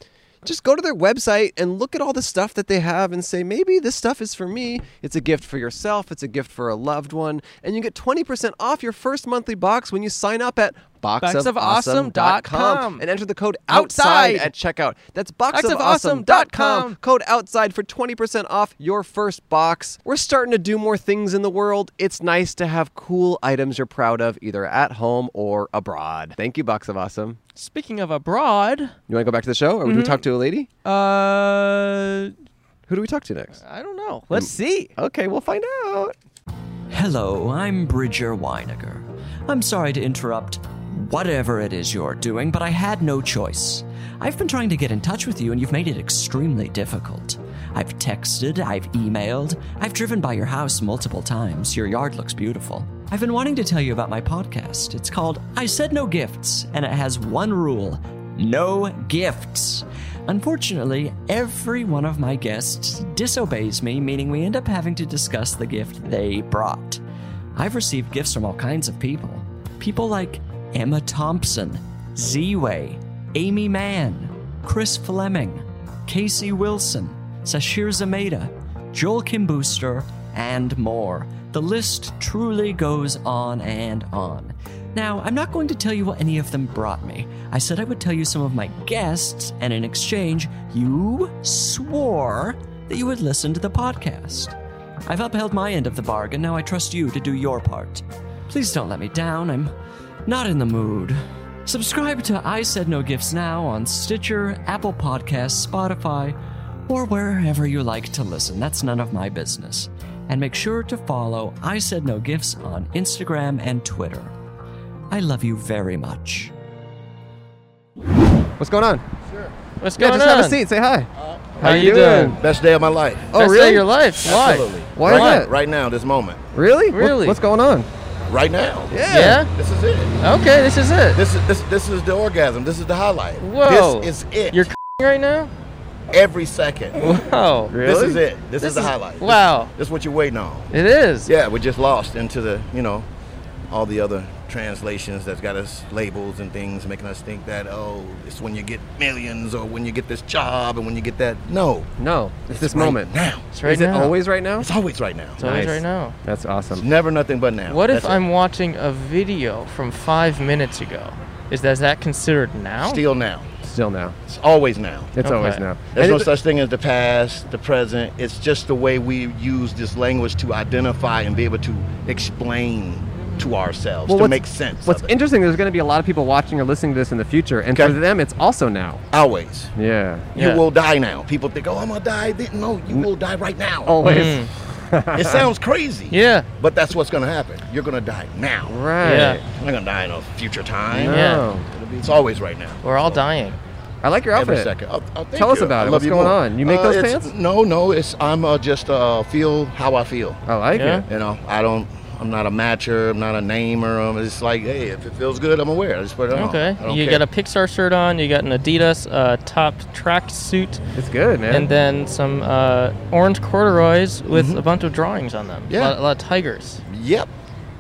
Just go to their website and look at all the stuff that they have and say, maybe this stuff is for me. It's a gift for yourself, it's a gift for a loved one. And you get 20% off your first monthly box when you sign up at boxofawesome.com Boxofawesome.com. and enter the code outside, Outside. at checkout. That's Boxofawesome.com. boxofawesome.com, code outside for 20% off your first box. We're starting to do more things in the world. It's nice to have cool items you're proud of, either at home or abroad. Thank you, Box of Awesome. Speaking of abroad, You want to go back to the show? Or do Mm-hmm. we talk to a lady? uh, Who do we talk to next? I don't know. Let's see. Okay, we'll find out. Hello, I'm Bridger Weiniger. I'm sorry to interrupt whatever it is you're doing, but I had no choice. I've been trying to get in touch with you, and you've made it extremely difficult. I've texted, I've emailed, I've driven by your house multiple times. Your yard looks beautiful. I've been wanting to tell you about my podcast. It's called I Said No Gifts, and it has one rule no gifts. Unfortunately, every one of my guests disobeys me, meaning we end up having to discuss the gift they brought. I've received gifts from all kinds of people. People like Emma Thompson, Z Way, Amy Mann, Chris Fleming, Casey Wilson, Sashir Zameda, Joel Kim Booster, and more. The list truly goes on and on. Now, I'm not going to tell you what any of them brought me. I said I would tell you some of my guests, and in exchange, you swore that you would listen to the podcast. I've upheld my end of the bargain, now I trust you to do your part. Please don't let me down, I'm not in the mood. Subscribe to I Said No Gifts Now on Stitcher, Apple Podcasts, Spotify, or wherever you like to listen. That's none of my business. And make sure to follow I Said No Gifts on Instagram and Twitter. I love you very much. What's going on? What's Yeah, going just have a on? seat. Say hi. How, you doing? Best day of my life. Oh, Best day really? of your life. Why? Absolutely. Why is right, that? Right now, this moment. Really? What- Really? what's going on? right now. Yeah? This is it. Okay, this is it. This is this this is the orgasm. This is the highlight. Whoa. This is it. You're right now? every second. Wow. This is it. This, is the is- highlight. This- wow. This, is what you're waiting on. It is. Yeah, we're just lost into the you know all the other translations that's got us labels and things making us think that oh it's when you get millions or when you get this job and when you get that no No, it's, this right moment. now It's right is now. it always right now? it's always right now It's always Nice. right now. That's awesome. never nothing but now What if That's it. I'm watching a video from five minutes ago? Is that, is that considered now? still now Still now. it's always now It's Okay. always now. there's And no it- such thing as the past the present it's just the way we use this language to identify and be able to explain to ourselves Well, to what's- make sense What's of it. interesting, there's going to be a lot of people watching or listening to this in the future, and for Okay. them, it's also now. always Yeah. Yeah. you will die now people think oh i'm gonna die then no you will die right now Always. It sounds crazy. Yeah. But that's what's going to happen. You're going to die now. Right. Yeah. You're not going to die in a future time. No. Yeah. It's always right now. We're all dying. I like your Every outfit. 2nd Oh, oh, thank Tell us you. about I it. love What's going more. on? You make Uh, those it's- pants? No, no. It's I'm uh, just uh, feel how I feel. I like Yeah. it. You know, I don't. I'm not a matcher. I'm not a namer. I'm it's like, hey, if it feels good, I'm aware. I just put it on. Okay. Oh, I don't You care. got a Pixar shirt on. You got an Adidas uh, top track suit, It's good, man. and then some uh, orange corduroys with Mm-hmm. a bunch of drawings on them. A Yeah. lot- a lot of tigers. Yep.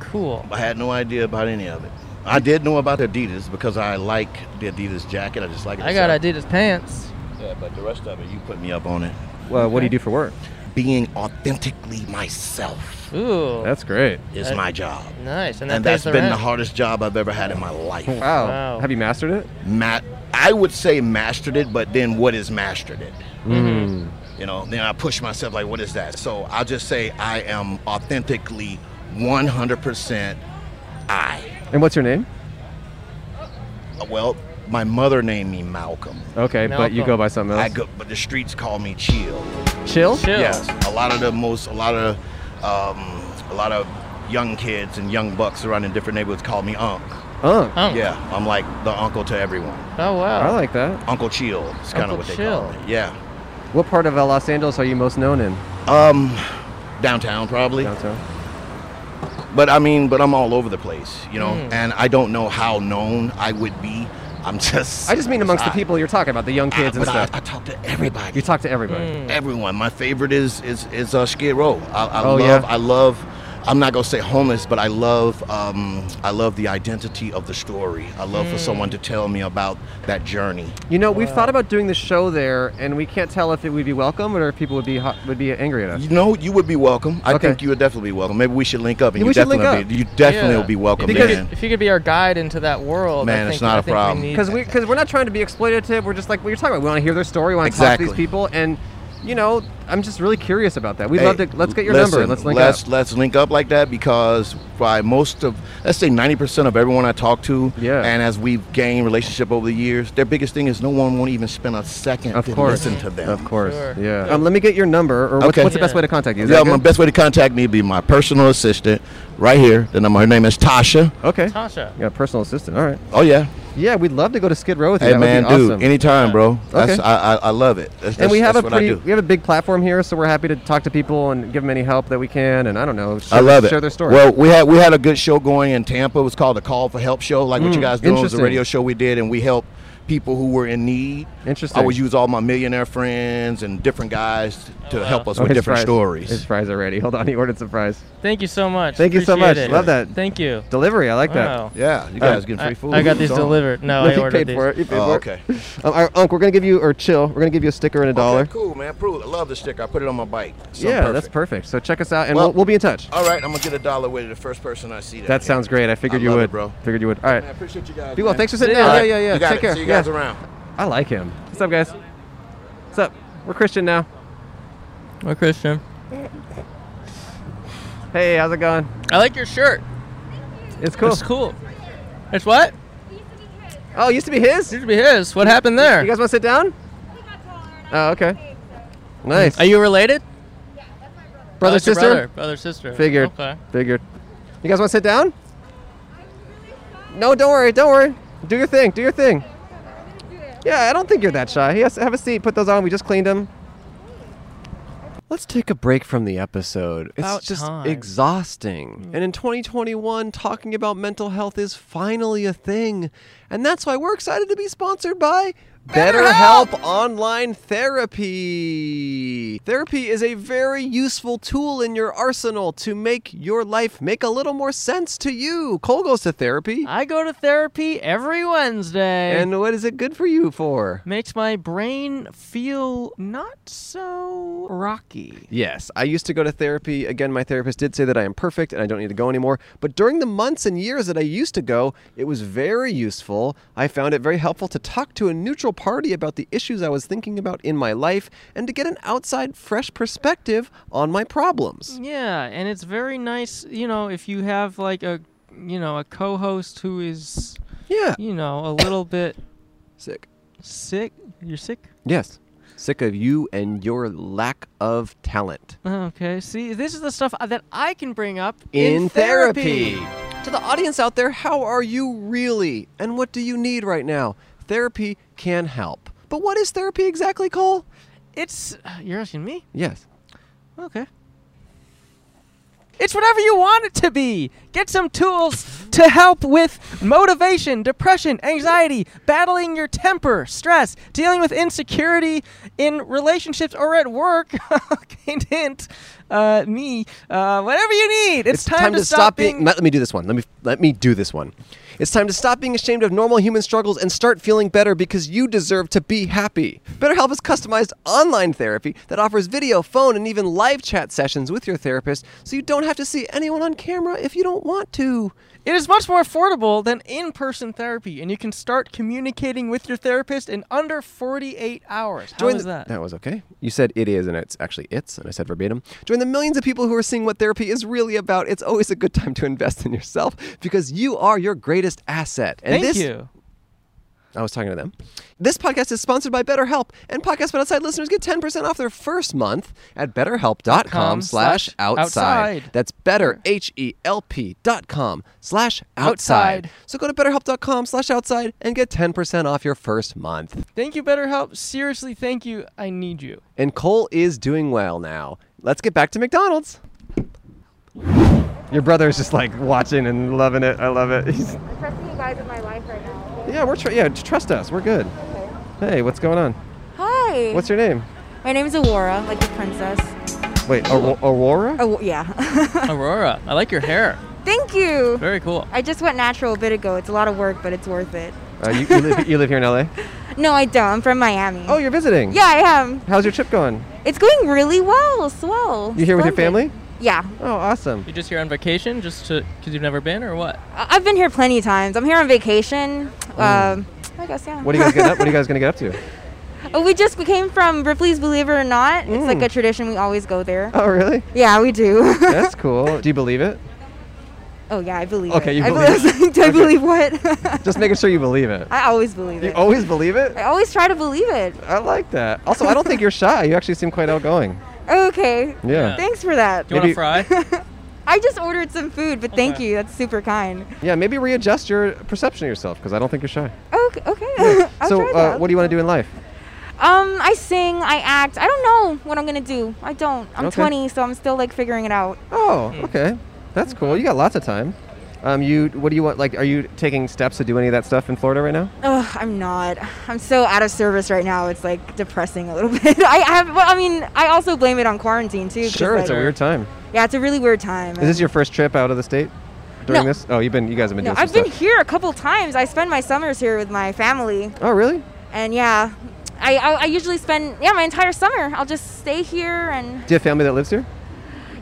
Cool. I had no idea about any of it. I did know about the Adidas because I like the Adidas jacket. I just like it. I got itself. Adidas pants. Yeah, but the rest of it, you put me up on it. well, what do you do for work? being authentically myself Ooh. That's great. is That- my job. nice. And, that And that's pays the been the rent. hardest job I've ever had in my life. Wow. Wow. Have you mastered it? Matt, I would say mastered it, but then what is mastered it? Mm-hmm. You know, then I push myself like, what is that? So I'll just say I am authentically 100% I. And what's your name? Well, my mother named me Malcolm. Okay, but you Malcolm. go by something else. I go, but the streets call me Chill. Chill? Chill. Yes, a lot of the most, a lot of, um, a lot of young kids and young bucks around in different neighborhoods call me Unc. Oh, Oh. Yeah, I'm like the uncle to everyone. Oh wow. I like that. Uncle Chill is kind of Uncle what they call Chill. me. Yeah. What part of uh, Los Angeles are you most known in? Um, downtown probably. Downtown? But I mean, but I'm all over the place, you know. Mm. And I don't know how known I would be. I'm just. I just mean amongst the I- people you're talking about, the young I, kids and but I, stuff. I talk to everybody. you talk to everybody. everyone. My favorite is is is uh, Skid Row. I, I Oh, love. yeah? I love. I'm not gonna say homeless, but I love. Um, I love the identity of the story. I love for someone to tell me about that journey. You know, we've thought about doing the show there, and we can't tell if it would be welcome or if people would be hot, would be angry at us. You know, you would be welcome. I Okay. think you would definitely be welcome. Maybe we should link up, and Yeah, we you should link definitely Be, you definitely Yeah. will be welcome. Because man. if you could be our guide into that world, I Man, it's think- not I a think we problem. need- Because we because we're not trying to be exploitative. We're just like what you're talking about. We want to hear their story. We want to talk to Exactly. these people, and you know, I'm just really curious about that. We'd Hey, love to. Let's get your listen, number and let's link let's, up. Let's link up like that because by most of, let's say 90% of everyone I talk to, Yeah. and as we've gained relationship over the years, their biggest thing is no one won't even spend a second Of to course. listen to them. Of course. Sure. Yeah. Um, let me get your number, or what's, Okay. what's the best Yeah. way to contact you? Is Yeah, that my good? best way to contact me would be my personal assistant right here. The number, her name is Tasha. Okay. Tasha. Yeah, personal assistant. All right. Oh, yeah. Yeah, we'd love to go to Skid Row with you. Hey, that man, would be dude, awesome. anytime, bro. That's, Okay. I, I, I love it. That's, and we that's- have a that's what pretty, I do. we have a big platform here, so we're happy to talk to people and give them any help that we can. And I don't know, share, I love it. Share their story. Well, we had we had a good show going in Tampa. It was called the Call for Help Show, like what you guys doing. It was a Hmm, interesting. radio show we did, and we helped people who were in need. Interesting. I would use all my millionaire friends and different guys to help us Oh, with his different fries. His stories. fries already. Hold on, he ordered some fries. Thank you so much. Thank you so Appreciate it. much. Love that. Thank you. Delivery, I like that. Wow. Yeah, you guys getting I, free food. I got these It's on. delivered. No, No, I he ordered paid these. for it. He paid Oh, for okay. it. Um, our, Unc, we're gonna give you or chill. We're gonna give you a sticker and a dollar. Okay, cool, man. Prove. I love the sticker. I put it on my bike. Something yeah, that's perfect. perfect. So check us out, and Well- we'll, we'll be in touch. All right, I'm gonna get a dollar with the first person I see. down That here. sounds great. I figured I you love it, would, bro. Figured you would. All right. Man, I appreciate you guys. Be well. man. Thanks for sitting Yeah. down. All Yeah, right, yeah, yeah. You got Take it. care. See you guys yeah. around. I like him. What's up, guys? What's up? We're Christian now. Well, Christian. Hey, how's it going? I like your shirt. It's cool. It's cool. It's what? Oh, it used to be his. It should be his. What happened there? You guys want to sit down? Oh, okay. Nice. Are you related? brother, Oh, it's your sister? Brother, brother, sister. Figured. Okay. Figured. You guys want to sit down? No, don't worry. Don't worry. Do your thing. Do your thing. Yeah, I don't think you're that shy. Yes, have a seat. Put those on. We just cleaned them. Let's take a break from the episode. It's About just time. exhausting. And in 2021, talking about mental health is finally a thing. And that's why we're excited to be sponsored by BetterHelp Online Therapy. Therapy is a very useful tool in your arsenal to make your life make a little more sense to you. Cole goes to therapy. I go to therapy every Wednesday. And what is it good for you for? makes my brain feel not so rocky. Yes, I used to go to therapy. Again, my therapist did say that I am perfect and I don't need to go anymore. But during the months and years that I used to go, it was very useful. I found it very helpful to talk to a neutral party about the issues I was thinking about in my life and to get an outside, fresh perspective on my problems. Yeah, and it's very nice, you know, if you have like a, you know, a co-host who is, Yeah. you know, a little bit Sick. sick. You're sick. Yes. Sick of you and your lack of talent. Okay. See, this is the stuff that I can bring up in therapy. To the audience out there, how are you really? And what do you need right now? Therapy can help. But what is therapy exactly, Cole? It's you're asking me. Yes. Okay. It's whatever you want it to be. Get some tools to help with motivation, depression, anxiety, battling your temper, stress, dealing with insecurity in relationships or at work. hint, hint. Uh, me. Uh, whatever you need. It's, time, to, stop, being. let me do this one. Let me let me do this one. It's time to stop being ashamed of normal human struggles and start feeling better because you deserve to be happy. BetterHelp is customized online therapy that offers video, phone, and even live chat sessions with your therapist, so you don't have to see anyone on camera if you don't want to. It is much more affordable than in person therapy, and you can start communicating with your therapist in under 48 hours. How Join is the- that? was okay. You said it is, and it's actually it's, and I said verbatim. Join the millions of people who are seeing what therapy is really about. It's always a good time to invest in yourself because you are your greatest asset. And Thank this, you. I was talking to them. This podcast is sponsored by BetterHelp, and Podcast But Outside listeners get 10% off their first month at betterhelp.com slash outside. outside. That's better, H-E-L-P dot com slash outside. Outside. So go to betterhelp.com slash outside and get 10% off your first month. Thank you, BetterHelp. Seriously, thank you. I need you. And Cole is doing well now. Let's get back to McDonald's. Your brother is just like watching and loving it. I love it. He's, I'm trusting you guys with my life right now. yeah, we're tr- yeah. just Trust us. We're good. Hey, what's going on? Hi. What's your name? my name is Aurora, like the princess. Wait, Aur- Aurora? Oh yeah. Aurora, I like your hair. Thank you. Very cool. I just went natural a bit ago. It's a lot of work, but it's worth it. Uh, you, you, live, you live here in LA? No, I don't. I'm from Miami. Oh, you're visiting. Yeah, I am. How's your trip going? It's going really well. Swell. You here with your Splendid. family? Yeah. Oh, awesome. You just here on vacation just to because you've never been or what? I- I've been here plenty of times. I'm here on vacation. Um, I guess yeah. Mm. What are you guys getting up? What are you guys gonna get up to? oh, we just we came from Ripley's Believe It or Not. It's like a tradition. We always go there. Mm. Oh, really? Yeah, we do. That's cool. Do you believe it? oh yeah, I believe. Okay, it. you I believe Do I believe what? Just making sure you believe it. I always believe You it. always believe it? I always try to believe it. I like that. Also, I don't think you're shy. You actually seem quite outgoing. Okay. Yeah. Thanks for that. Do you Maybe- want to fry? I just ordered some food, but thank you. That's super kind. Yeah, maybe readjust your perception of yourself because I don't think you're shy. Okay. Okay. I'll so, try uh, that. what do you want to do in life? um, I sing, I act. I don't know what I'm gonna do. I don't. I'm Okay. 20, so I'm still like figuring it out. Oh, Hmm. okay. That's cool. You got lots of time. Um, you, what do you want? Like, are you taking steps to do any of that stuff in Florida right now? Ugh, I'm not. I'm so out of service right now. It's like depressing a little bit. I have. Well, I mean, I also blame it on quarantine too. 'cause, Sure, it's a like, weird time. Yeah, it's a really weird time. Is this your first trip out of the state during No. this? Oh, you've been. You guys have been No, doing some I've been stuff. here a couple times. I spend my summers here with my family. Oh, really? and yeah I, I, I usually spend yeah my entire summer i'll just stay here and Do you have family that lives here?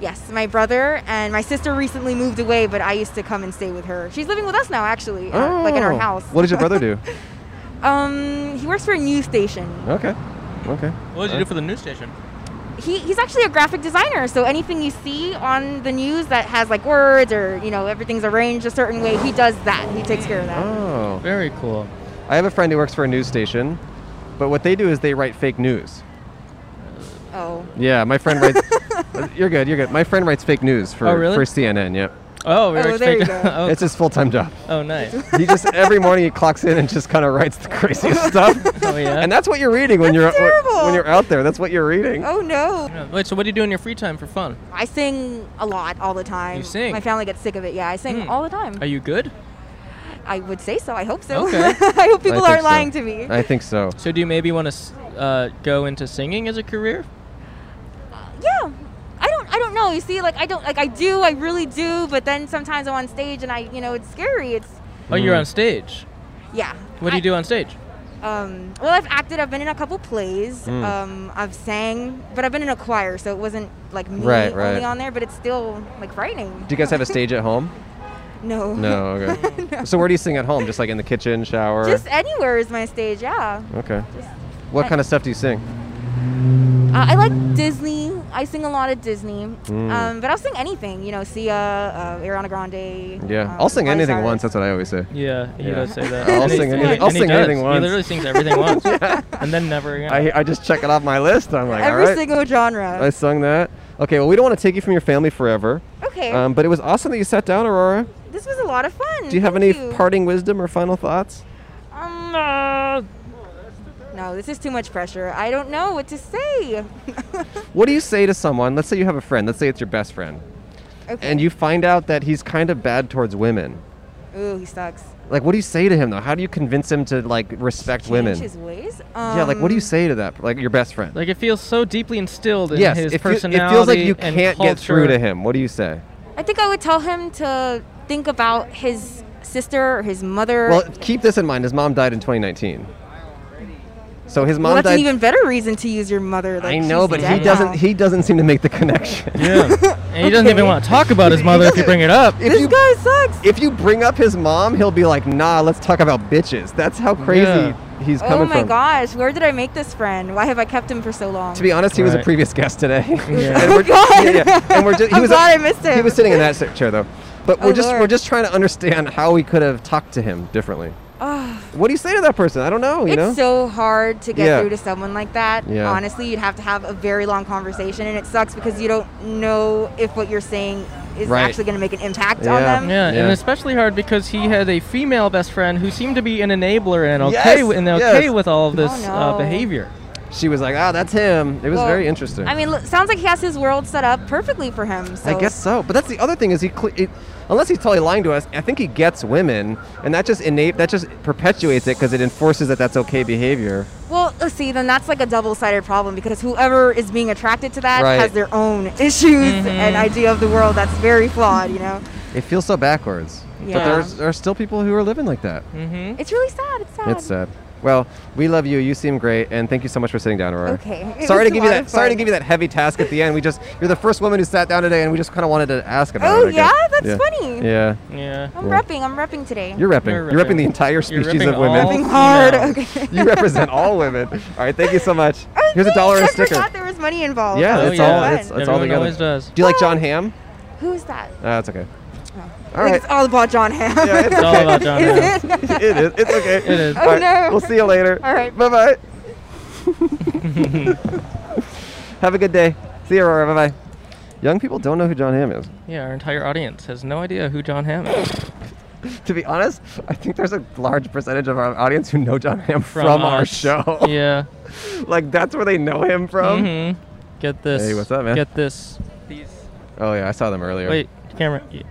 yes my brother and my sister recently moved away but i used to come and stay with her she's living with us now actually in our- like in our Oh. house What does your brother do? um he works for a news station okay. Okay. what did you do for the news station? he, he's actually a graphic designer so anything you see on the news that has like words or you know everything's arranged a certain way he does that he takes care of that Oh. Very cool. I have a friend who works for a news station, but what they do is they write fake news. oh uh, Yeah, my friend writes. you're good. You're good. My friend writes fake news for Oh, really? for CNN. Yep. Oh, we were Oh, there you expecting- go. oh, It's his full time job. oh, nice. He just every morning he clocks in and just kind of writes the craziest stuff, Oh, yeah. and that's what you're reading when That's you're terrible. when you're out there. That's what you're reading. Oh no. Wait, so what do you do in your free time for fun? I sing a lot all the time. You sing? My family gets sick of it. Yeah, I sing Hmm. all the time. Are you good? I would say so. I hope so. Okay. I hope people think aren't so. lying to me. I think so. So do you maybe want to uh, go into singing as a career? yeah i don't i don't know you see like i don't like i do i really do but then sometimes i'm on stage and i you know it's scary it's Oh, you're Hmm. on stage. yeah What do you do on stage? do um, well i've acted i've been in a couple plays Hmm. um, i've sang but i've been in a choir so it wasn't like me Right, right. only on there but it's still like frightening Do you guys have a stage at home? no No. Okay. So where do you sing at home? Just like in the kitchen, shower. just anywhere is my stage yeah okay. What I- kind of stuff do you sing? uh, i like disney i sing a lot of disney Mm. um, but i'll sing anything you know sia uh, ariana grande Yeah, um, I'll sing Miley anything Cyrus. once. That's what I always say. Yeah, he Yeah. does say that. I'll And he- sing and anything- I'll and he sing does. anything once. He literally sings everything once, and then never again. I, I just check it off my list. I'm like, every all right, single genre I sung that. Okay, well, we don't want to take you from your family forever, okay um, but it was awesome that you sat down, Aurora. this was a lot of fun Do you have Thank any parting wisdom or final thoughts? Um, no, this is too much pressure. I don't know what to say. What do you say to someone? Let's say you have a friend. Let's say it's your best friend, okay. and you find out that he's kind of bad towards women. Ooh, he sucks. Like, what do you say to him though? How do you convince him to like respect women? Change his ways. yeah, like what do you Um, say to that? Like your best friend. like it feels so deeply instilled in yes, his it, feel- it personality feels like you and can't culture. get through to him. What do you say? I think I would tell him to think about his sister or his mother. Well, keep this in mind. His mom died in 2019. So his Well, mom that's died. an even better reason to use your mother. Like, I know, she's but he dead doesn't. now. He doesn't seem to make the connection. Yeah, and he doesn't even Okay. want to talk about his mother if you bring it up. If this you guy sucks. if you bring up his mom, he'll be like, "Nah, let's talk about bitches." That's how crazy Yeah. he's coming Oh my from. gosh, where did I make this friend? Why have I kept him for so long? To be honest, he was a Right. previous guest today. Yeah. and we're, yeah, yeah. And we're just, he Oh I'm was glad I missed He him. was sitting in that sit- chair though. But we're Oh, just we're Lord. just trying to understand how we could have talked to him differently. what do you say to that person? I don't know. Oh, You it's know. so hard to get Yeah. through to someone like that. Yeah. Honestly, you'd have to have a very long conversation, and it sucks because you don't know if what you're saying is Right. actually going to make an impact Yeah. on them. Yeah, Yeah. and especially hard because he had a female best friend who seemed to be an enabler and Yes, okay wi- and okay yes. Oh, with all of this uh, no. behavior. she was like, "Ah, that's him." It was Well, very interesting. I mean, look, sounds like he has his world set up perfectly for him. So I guess so. But that's the other thing is he, cle it, unless he's totally lying to us, I think he gets women, and that just innate, that just perpetuates it because it enforces that that's okay behavior. Well, let's see, then that's like a double-sided problem because whoever is being attracted to that Right. has their own issues Mm-hmm. and idea of the world that's very flawed. You know, It feels so backwards. But Yeah. there's, there are still people who are living like that. Mm-hmm. it's really sad. It's sad. It's sad. Well, we love you. You seem great, and thank you so much for sitting down, Aurora. Okay. It was Sorry to a give you lot that. of Sorry to fun. give you that heavy task at the end. We just you're the first woman who sat down today, and we just kind of wanted to ask about Oh it. I guess. yeah, that's funny. Yeah. Yeah. I'm Yeah. repping. I'm repping today. You're repping. You're You're repping repping- the entire you're species repping of women. all repping hard. females. Okay. You represent all women. All right, thank you so much. Oh, Here's a thanks. dollar and I a sticker. forgot there was money involved. Yeah, That was it's so all fun. it's, it's all Everyone together. always does. Do you like John Hamm? Who's that? Ah, that's okay. All I think right. It's all about John Hamm. Yeah, it's It's all about John. Is Hamm. it? it is. It's okay. It is. Oh, no. We'll see you later. All right. Bye bye. Have a good day. See you, Aurora. Bye bye. Young people don't know who John Hamm is. Yeah, our entire audience has no idea who John Hamm is To be honest, I think there's a large percentage of our audience who know John Hamm from, our us. show. Yeah. like that's where they know him from. hmm Get this. Hey, what's up, man? Get this. These. Oh yeah, I saw them earlier. Wait, camera. the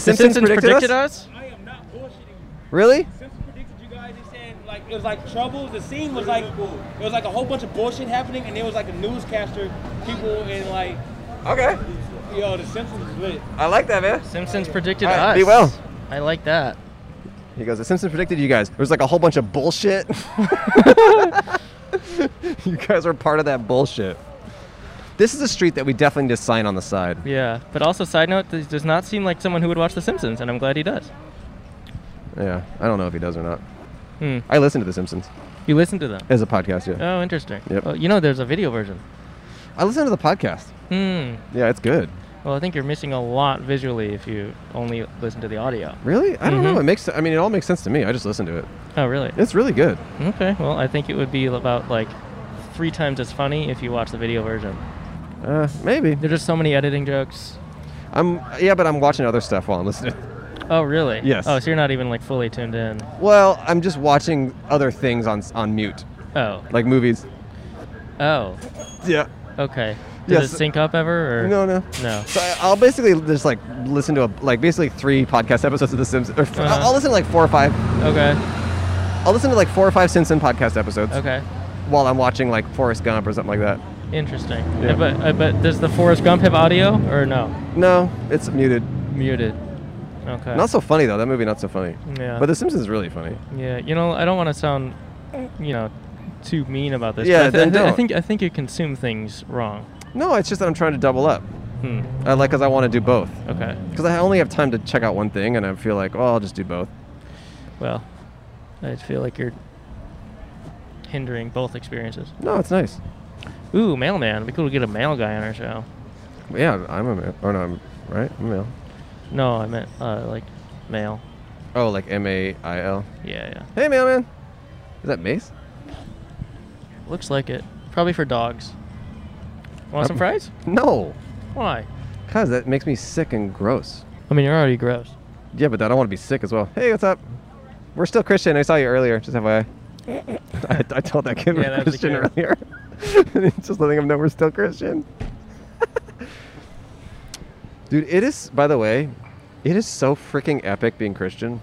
The Simpsons, predicted, us? us? I am not bullshitting Really? Simpsons predicted you guys. They saying like it was like trouble. The scene was like it was like a whole bunch of bullshit happening, and there was like a newscaster, people in like Okay. yo, the Simpsons was lit. I like that, man. Simpsons predicted All right, us. be well. I like that. He goes, The Simpsons predicted you guys. There was like a whole bunch of bullshit. you guys were part of that bullshit. This is a street that we definitely need to sign on the side. Yeah. But also, side note, this does not seem like someone who would watch The Simpsons, and I'm glad he does. Yeah. I don't know if he does or not. Hmm. I listen to The Simpsons You listen to them. as a podcast, yeah. Oh, interesting. Yep. Well, you know, there's a video version. I listen to the podcast. Hmm. Yeah, it's good. Well, I think you're missing a lot visually if you only listen to the audio. Really? I don't know. Mhm. It makes I mean it all makes sense to me. I just listen to it. Oh, really? It's really good. Okay. Well, I think it would be about like three times as funny if you watch the video version. Uh, maybe. There's just so many editing jokes. I'm yeah, but I'm watching other stuff while I'm listening. Oh, really? Yes. Oh, so you're not even like fully tuned in. Well, I'm just watching other things on s- on mute, Oh. like movies. Oh. Yeah. Okay. Does Yes. it sync up ever? Or? No, no. No. So I- I'll basically just like listen to a, like basically three podcast episodes of The Simpsons. Or f- I'll- I'll listen to like four or five. Uh-huh. Okay. I'll listen to like four or five Simpson podcast episodes. Okay. While I'm watching like Forrest Gump or something like that. Interesting. Yeah. Uh, But uh, but does the Forrest Gump have audio or no? No, it's muted. Muted. Okay. Not so funny though. That movie not so funny. Yeah. But The Simpsons is really funny. Yeah. You know, I don't want to sound, you know, too mean about this. but Yeah, I, thi- then I, thi- I don't. think I think you consume things wrong. No, it's just that I'm trying to double up. Hmm. I like because I want to do both. Okay. Because I only have time to check out one thing, and I feel like, oh, I'll just do both. Well, I feel like you're hindering both experiences. No, Oh, it's nice. Ooh, mailman. It'd be cool to get a mail guy on our show. Yeah, I'm a male. Oh no, I'm right. I'm a male. No, I meant uh, like mail. Oh, like M A I L. Yeah, yeah. Hey, mailman. Is that Mace? Looks like it. Probably for dogs. Want some Um, fries? No, Why? cause that makes me sick and gross. I mean, you're already gross. Yeah, but I don't want to be sick as well. Hey, what's up? We're still Christian. I saw you earlier. Just FYI. I, I told that kid we're Yeah, that was the Christian kid. earlier. Just letting him know we're still Christian. Dude, it is. By the way, it is so freaking epic being Christian.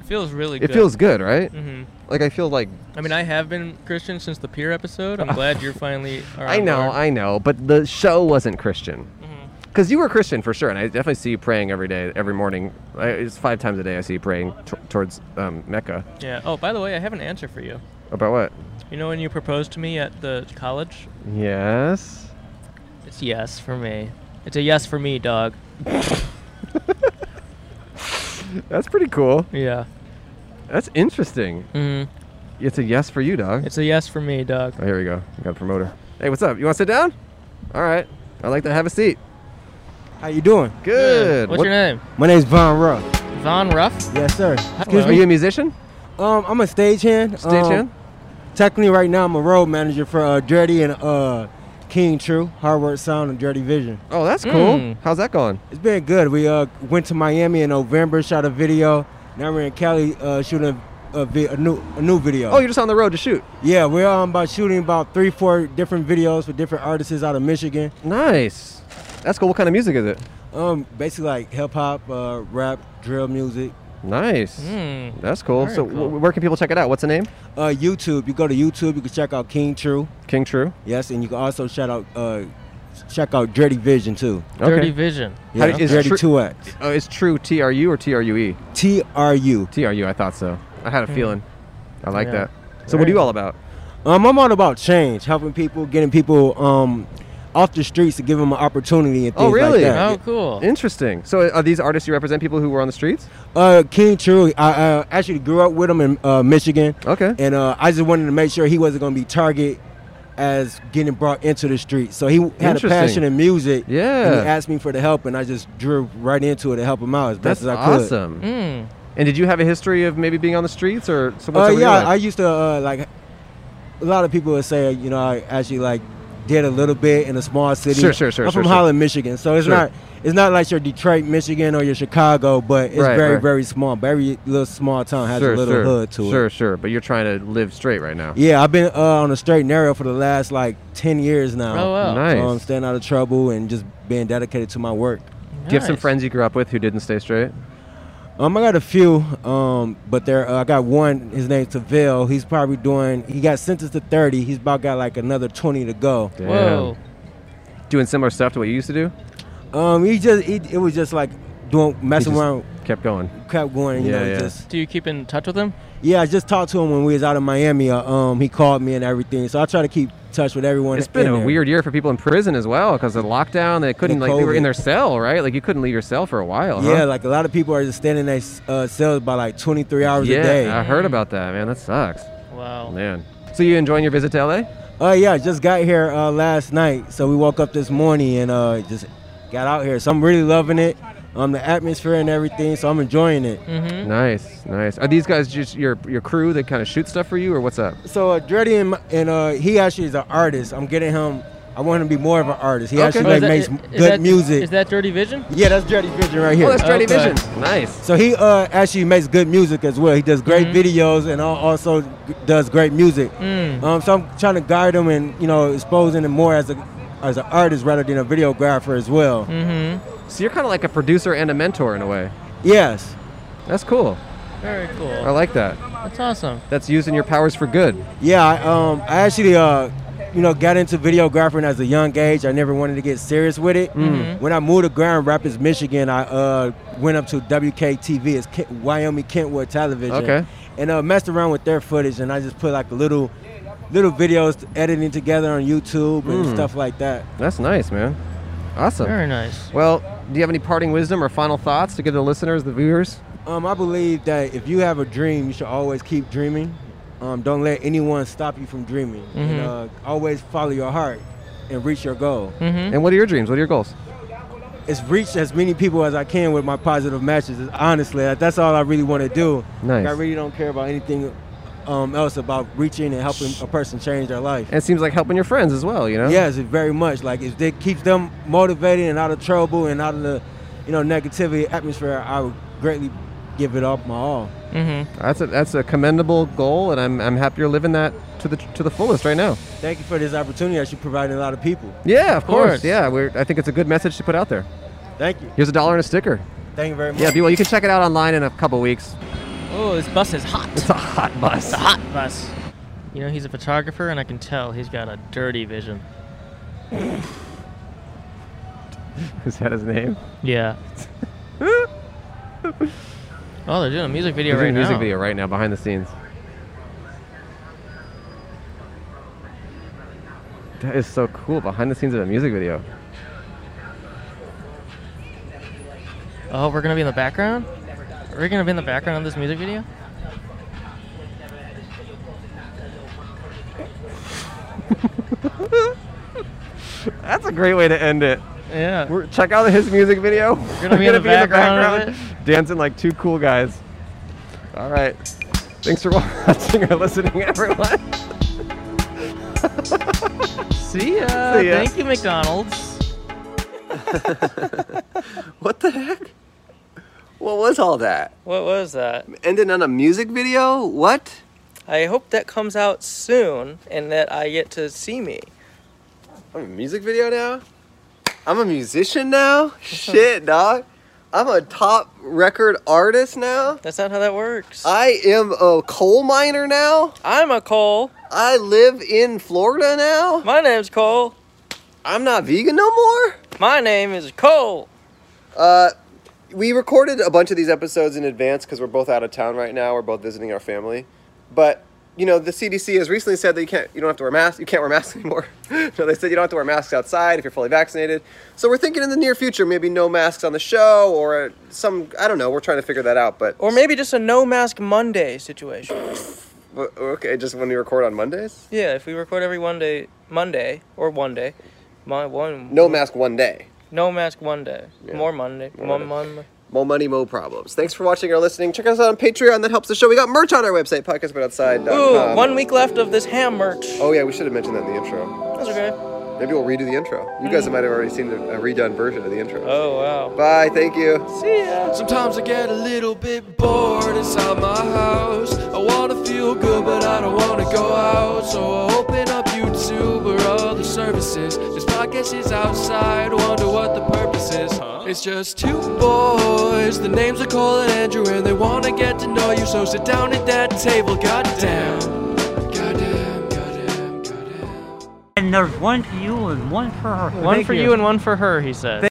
It feels really It feels good, right? hmm Like I feel like I mean, I have been Christian since the peer episode. I'm glad you're finally. Are I on know, board. I know, but the show wasn't Christian. Mm-hmm. Because you were Christian for sure, and I definitely see you praying every day, every morning. I, it's five times a day I see you praying t- towards um, Mecca. yeah. Oh, by the way, I have an answer for you. About what? You know when you proposed to me at the college? Yes. It's yes for me. It's a yes for me, dog. That's pretty cool. Yeah. That's interesting. hmm It's a yes for you, dog. It's a yes for me, dog. Oh, here we go. We got a promoter. Hey, what's up? You want to sit down? All right. I'd like to have a seat. How you doing? Good. What's What- your name? My name's Von Ruff. Von Ruff. Yes, sir. Excuse Are me. you a musician? Um, I'm a stagehand. Um, Stagehand? Technically, right now I'm a road manager for uh, Dirty and uh, King True, Hardware Sound and Dirty Vision. Oh, that's cool. Mm. How's that going? It's been good. We uh, went to Miami in November, shot a video. Now we're in Cali uh, shooting a, vi- a new a new video. Oh, you're just on the road to shoot. yeah, we're um, about shooting about three, four different videos for different artists out of Michigan. Nice. That's cool. What kind of music is it? Um, basically like hip hop, uh, rap, drill music. Nice. Mm. That's cool. Very so, cool. wh- where can people check it out? What's the name? Uh, YouTube. You go to YouTube. You can check out King True. King True. Yes, and you can also shout out, uh, check out Dirty Vision too. Dirty Vision. How Yeah, do- is Dirty Tru- Two X. Oh, it's True T R U or T R U E? T R U. T R U. I thought so. I Mm. Hmm. had a feeling. I like Yeah. that. So, what are you all about? Um, I'm all about change, helping people, getting people um off the streets to give them an opportunity and Oh, things really? like that. Oh, cool. Interesting. So, are these artists you represent people who were on the streets? Uh, King True. I uh, actually grew up with him in uh, Michigan, Okay. and uh, I just wanted to make sure he wasn't going to be target as getting brought into the street. So he had a Interesting. passion in music. And Yeah. he asked me for the help, and I just drew right into it to help him out as best That's as I could. awesome. Mm. And did you have a history of maybe being on the streets or so Uh, what's up with your yeah, I life? used to uh, like. A lot of people would say, you know, I actually like did a little bit in a small city. Sure, sure, sure, I'm sure, from sure. Holland, Michigan, so it's Sure. not it's not like your Detroit, Michigan, or your Chicago, but it's Right, very, right. very small. Very little small town has a little sure, hood to sure, it. sure. But you're trying to live straight right now. Yeah, I've been uh, on a straight and narrow for the last like ten years Oh, now. wow. Nice. So I'm staying out of trouble and just being dedicated to my work. Do you have some Nice. friends you grew up with who didn't stay straight? Um, I got a few, um, but there uh, I got one. His name's Taville. He's probably doing. He got sentenced to thirty. He's about got like another twenty to go. Damn. Whoa. Doing similar stuff to what you used to do? Um, he just he, it was just like doing messing just- around, Kept going. kept going. You Yeah, know, yeah. just Do you keep in touch with him? yeah. I just talked to him when we was out in Miami. Uh, um, he called me and everything. So I try to keep touch with everyone. It's been in a there. weird year for people in prison as well because of lockdown. They couldn't, like, they were in COVID. their cell, right? Like, you couldn't leave your cell for a while. huh? Yeah, like a lot of people are just standing in their uh, cells by like twenty three hours yeah, a day. I heard about that, man. That sucks. Wow. Man. So, you enjoying your visit to LA? Uh, yeah, just got here uh, last night. So we woke up this morning and uh, just got out here. So I'm really loving it. Um, the atmosphere and everything. So I'm enjoying it. Mm-hmm. Nice, nice. Are these guys just your your crew that kind of shoot stuff for you, or what's up? So uh, Dreddy and, my- and uh, he actually is an artist. I'm getting him I want him to be more of an artist. He Okay. actually Oh, is like that- makes is good that- music. is that Dirty Vision? Yeah, that's Dirty Vision right here. Oh, that's Dirty Okay. Vision. Nice. Mm-hmm. So he uh, actually makes good music as well. He does great videos and al- also g- does great music. Mm. Um, so I'm trying to guide him and you know exposing him more as a as an artist rather than a videographer as well. Mm-hmm. So you're kind of like a producer and a mentor in a way. Yes. That's cool. Very cool. I like that. That's awesome. That's using your powers for good. Yeah, I, um, I actually, uh, you know, got into videographing as a young age. I never wanted to get serious with it. Mhm. When I moved to Grand Rapids, Michigan, I uh, went up to WKTV, it's Kent, Wyoming Kentwood Television, Okay. and uh, messed around with their footage, and I just put like little, little videos editing together on YouTube and Hmm. Mm. stuff like that. That's nice, man. Awesome. Very nice. Well, do you have any parting wisdom or final thoughts to give the listeners, the viewers? Um, I believe that if you have a dream, you should always keep dreaming. Um, don't let anyone stop you from dreaming. And, Mhm. uh, always follow your heart and reach your goal. Mhm. Mm-hmm. And what are your dreams? What are your goals? It's reach as many people as I can with my positive matches. Honestly, that- that's all I really want to do. Nice. Like, I really don't care about anything um, else about reaching and helping a person change their life. And it seems like helping your friends as well, you know? Yes, it very much. Like if it keeps them motivated and out of trouble and out of the, you know, negativity atmosphere, I would greatly give it up my all. Mm-hmm. That's a that's a commendable goal, and I'm I'm happy you're living that to the to the fullest right now. Thank you for this opportunity that you provided a lot of people. Yeah, of, course. course. Yeah, we're, I think it's a good message to put out there. Thank you. Here's a dollar and a sticker. Thank you very much. Yeah, be well. You can check it out online in a couple weeks. Oh, this bus is hot. It's a hot bus. It's a hot bus. You know, he's a photographer, and I can tell he's got a dirty vision. Is that his name? Yeah. Oh, they're doing a music video He's right doing a music now. video right now behind the scenes. That is so cool. Behind the scenes of a music video. Oh, we're gonna be in the background. Are we gonna be in the background of this music video? That's a great way to end it. Yeah. We're, check out his music video. We're gonna be in the background of dancing like two cool guys. All right. Thanks for watching or listening, everyone. See ya. See ya. Thank you, McDonald's. What the heck? What was all that? What was that? Ending on a music video? What? I hope that comes out soon and that I get to see me. I'm a music video now? I'm a musician now? Shit, dog. I'm a top record artist now? That's not how that works. I am a coal miner now. I'm a coal. I live in Florida now. My name's Cole. I'm not vegan no more. My name is Cole. Uh, we recorded a bunch of these episodes in advance because we're both out of town right now. We're both visiting our family, but you know the CDC has recently said that you can't, you don't have to wear masks. You can't wear masks anymore. no, they said you don't have to wear masks outside if you're fully vaccinated. So we're thinking in the near future, maybe no masks on the show or some. I don't know. We're trying to figure that out, but Or maybe just a no mask Monday situation. but, okay, just when we record on Mondays. Yeah, if we record every one day, Monday or one day, my one No mask one day. no mask one day, more Monday, More more Monday. More money, more problems. Thanks for watching or listening. Check us out on Patreon. That helps the show. We got merch on our website, Ooh, podcastbutoutside.com. one week left of this ham merch. Oh, yeah, we should have mentioned that in the intro. That's okay. Maybe we'll redo the intro. You guys might have already seen the, a redone version of the intro. Oh, wow. Bye. Thank you. See ya. Sometimes I get a little bit bored inside my house. I wanna feel good, but I don't wanna go out. So I open up YouTube or other services. This podcast is outside, wonder what the purpose is. It's just two boys. The names are Cole and Andrew, and they wanna get to know you. So sit down at that table, goddamn. And there's one for you and one for her. One for you and one for her, he said.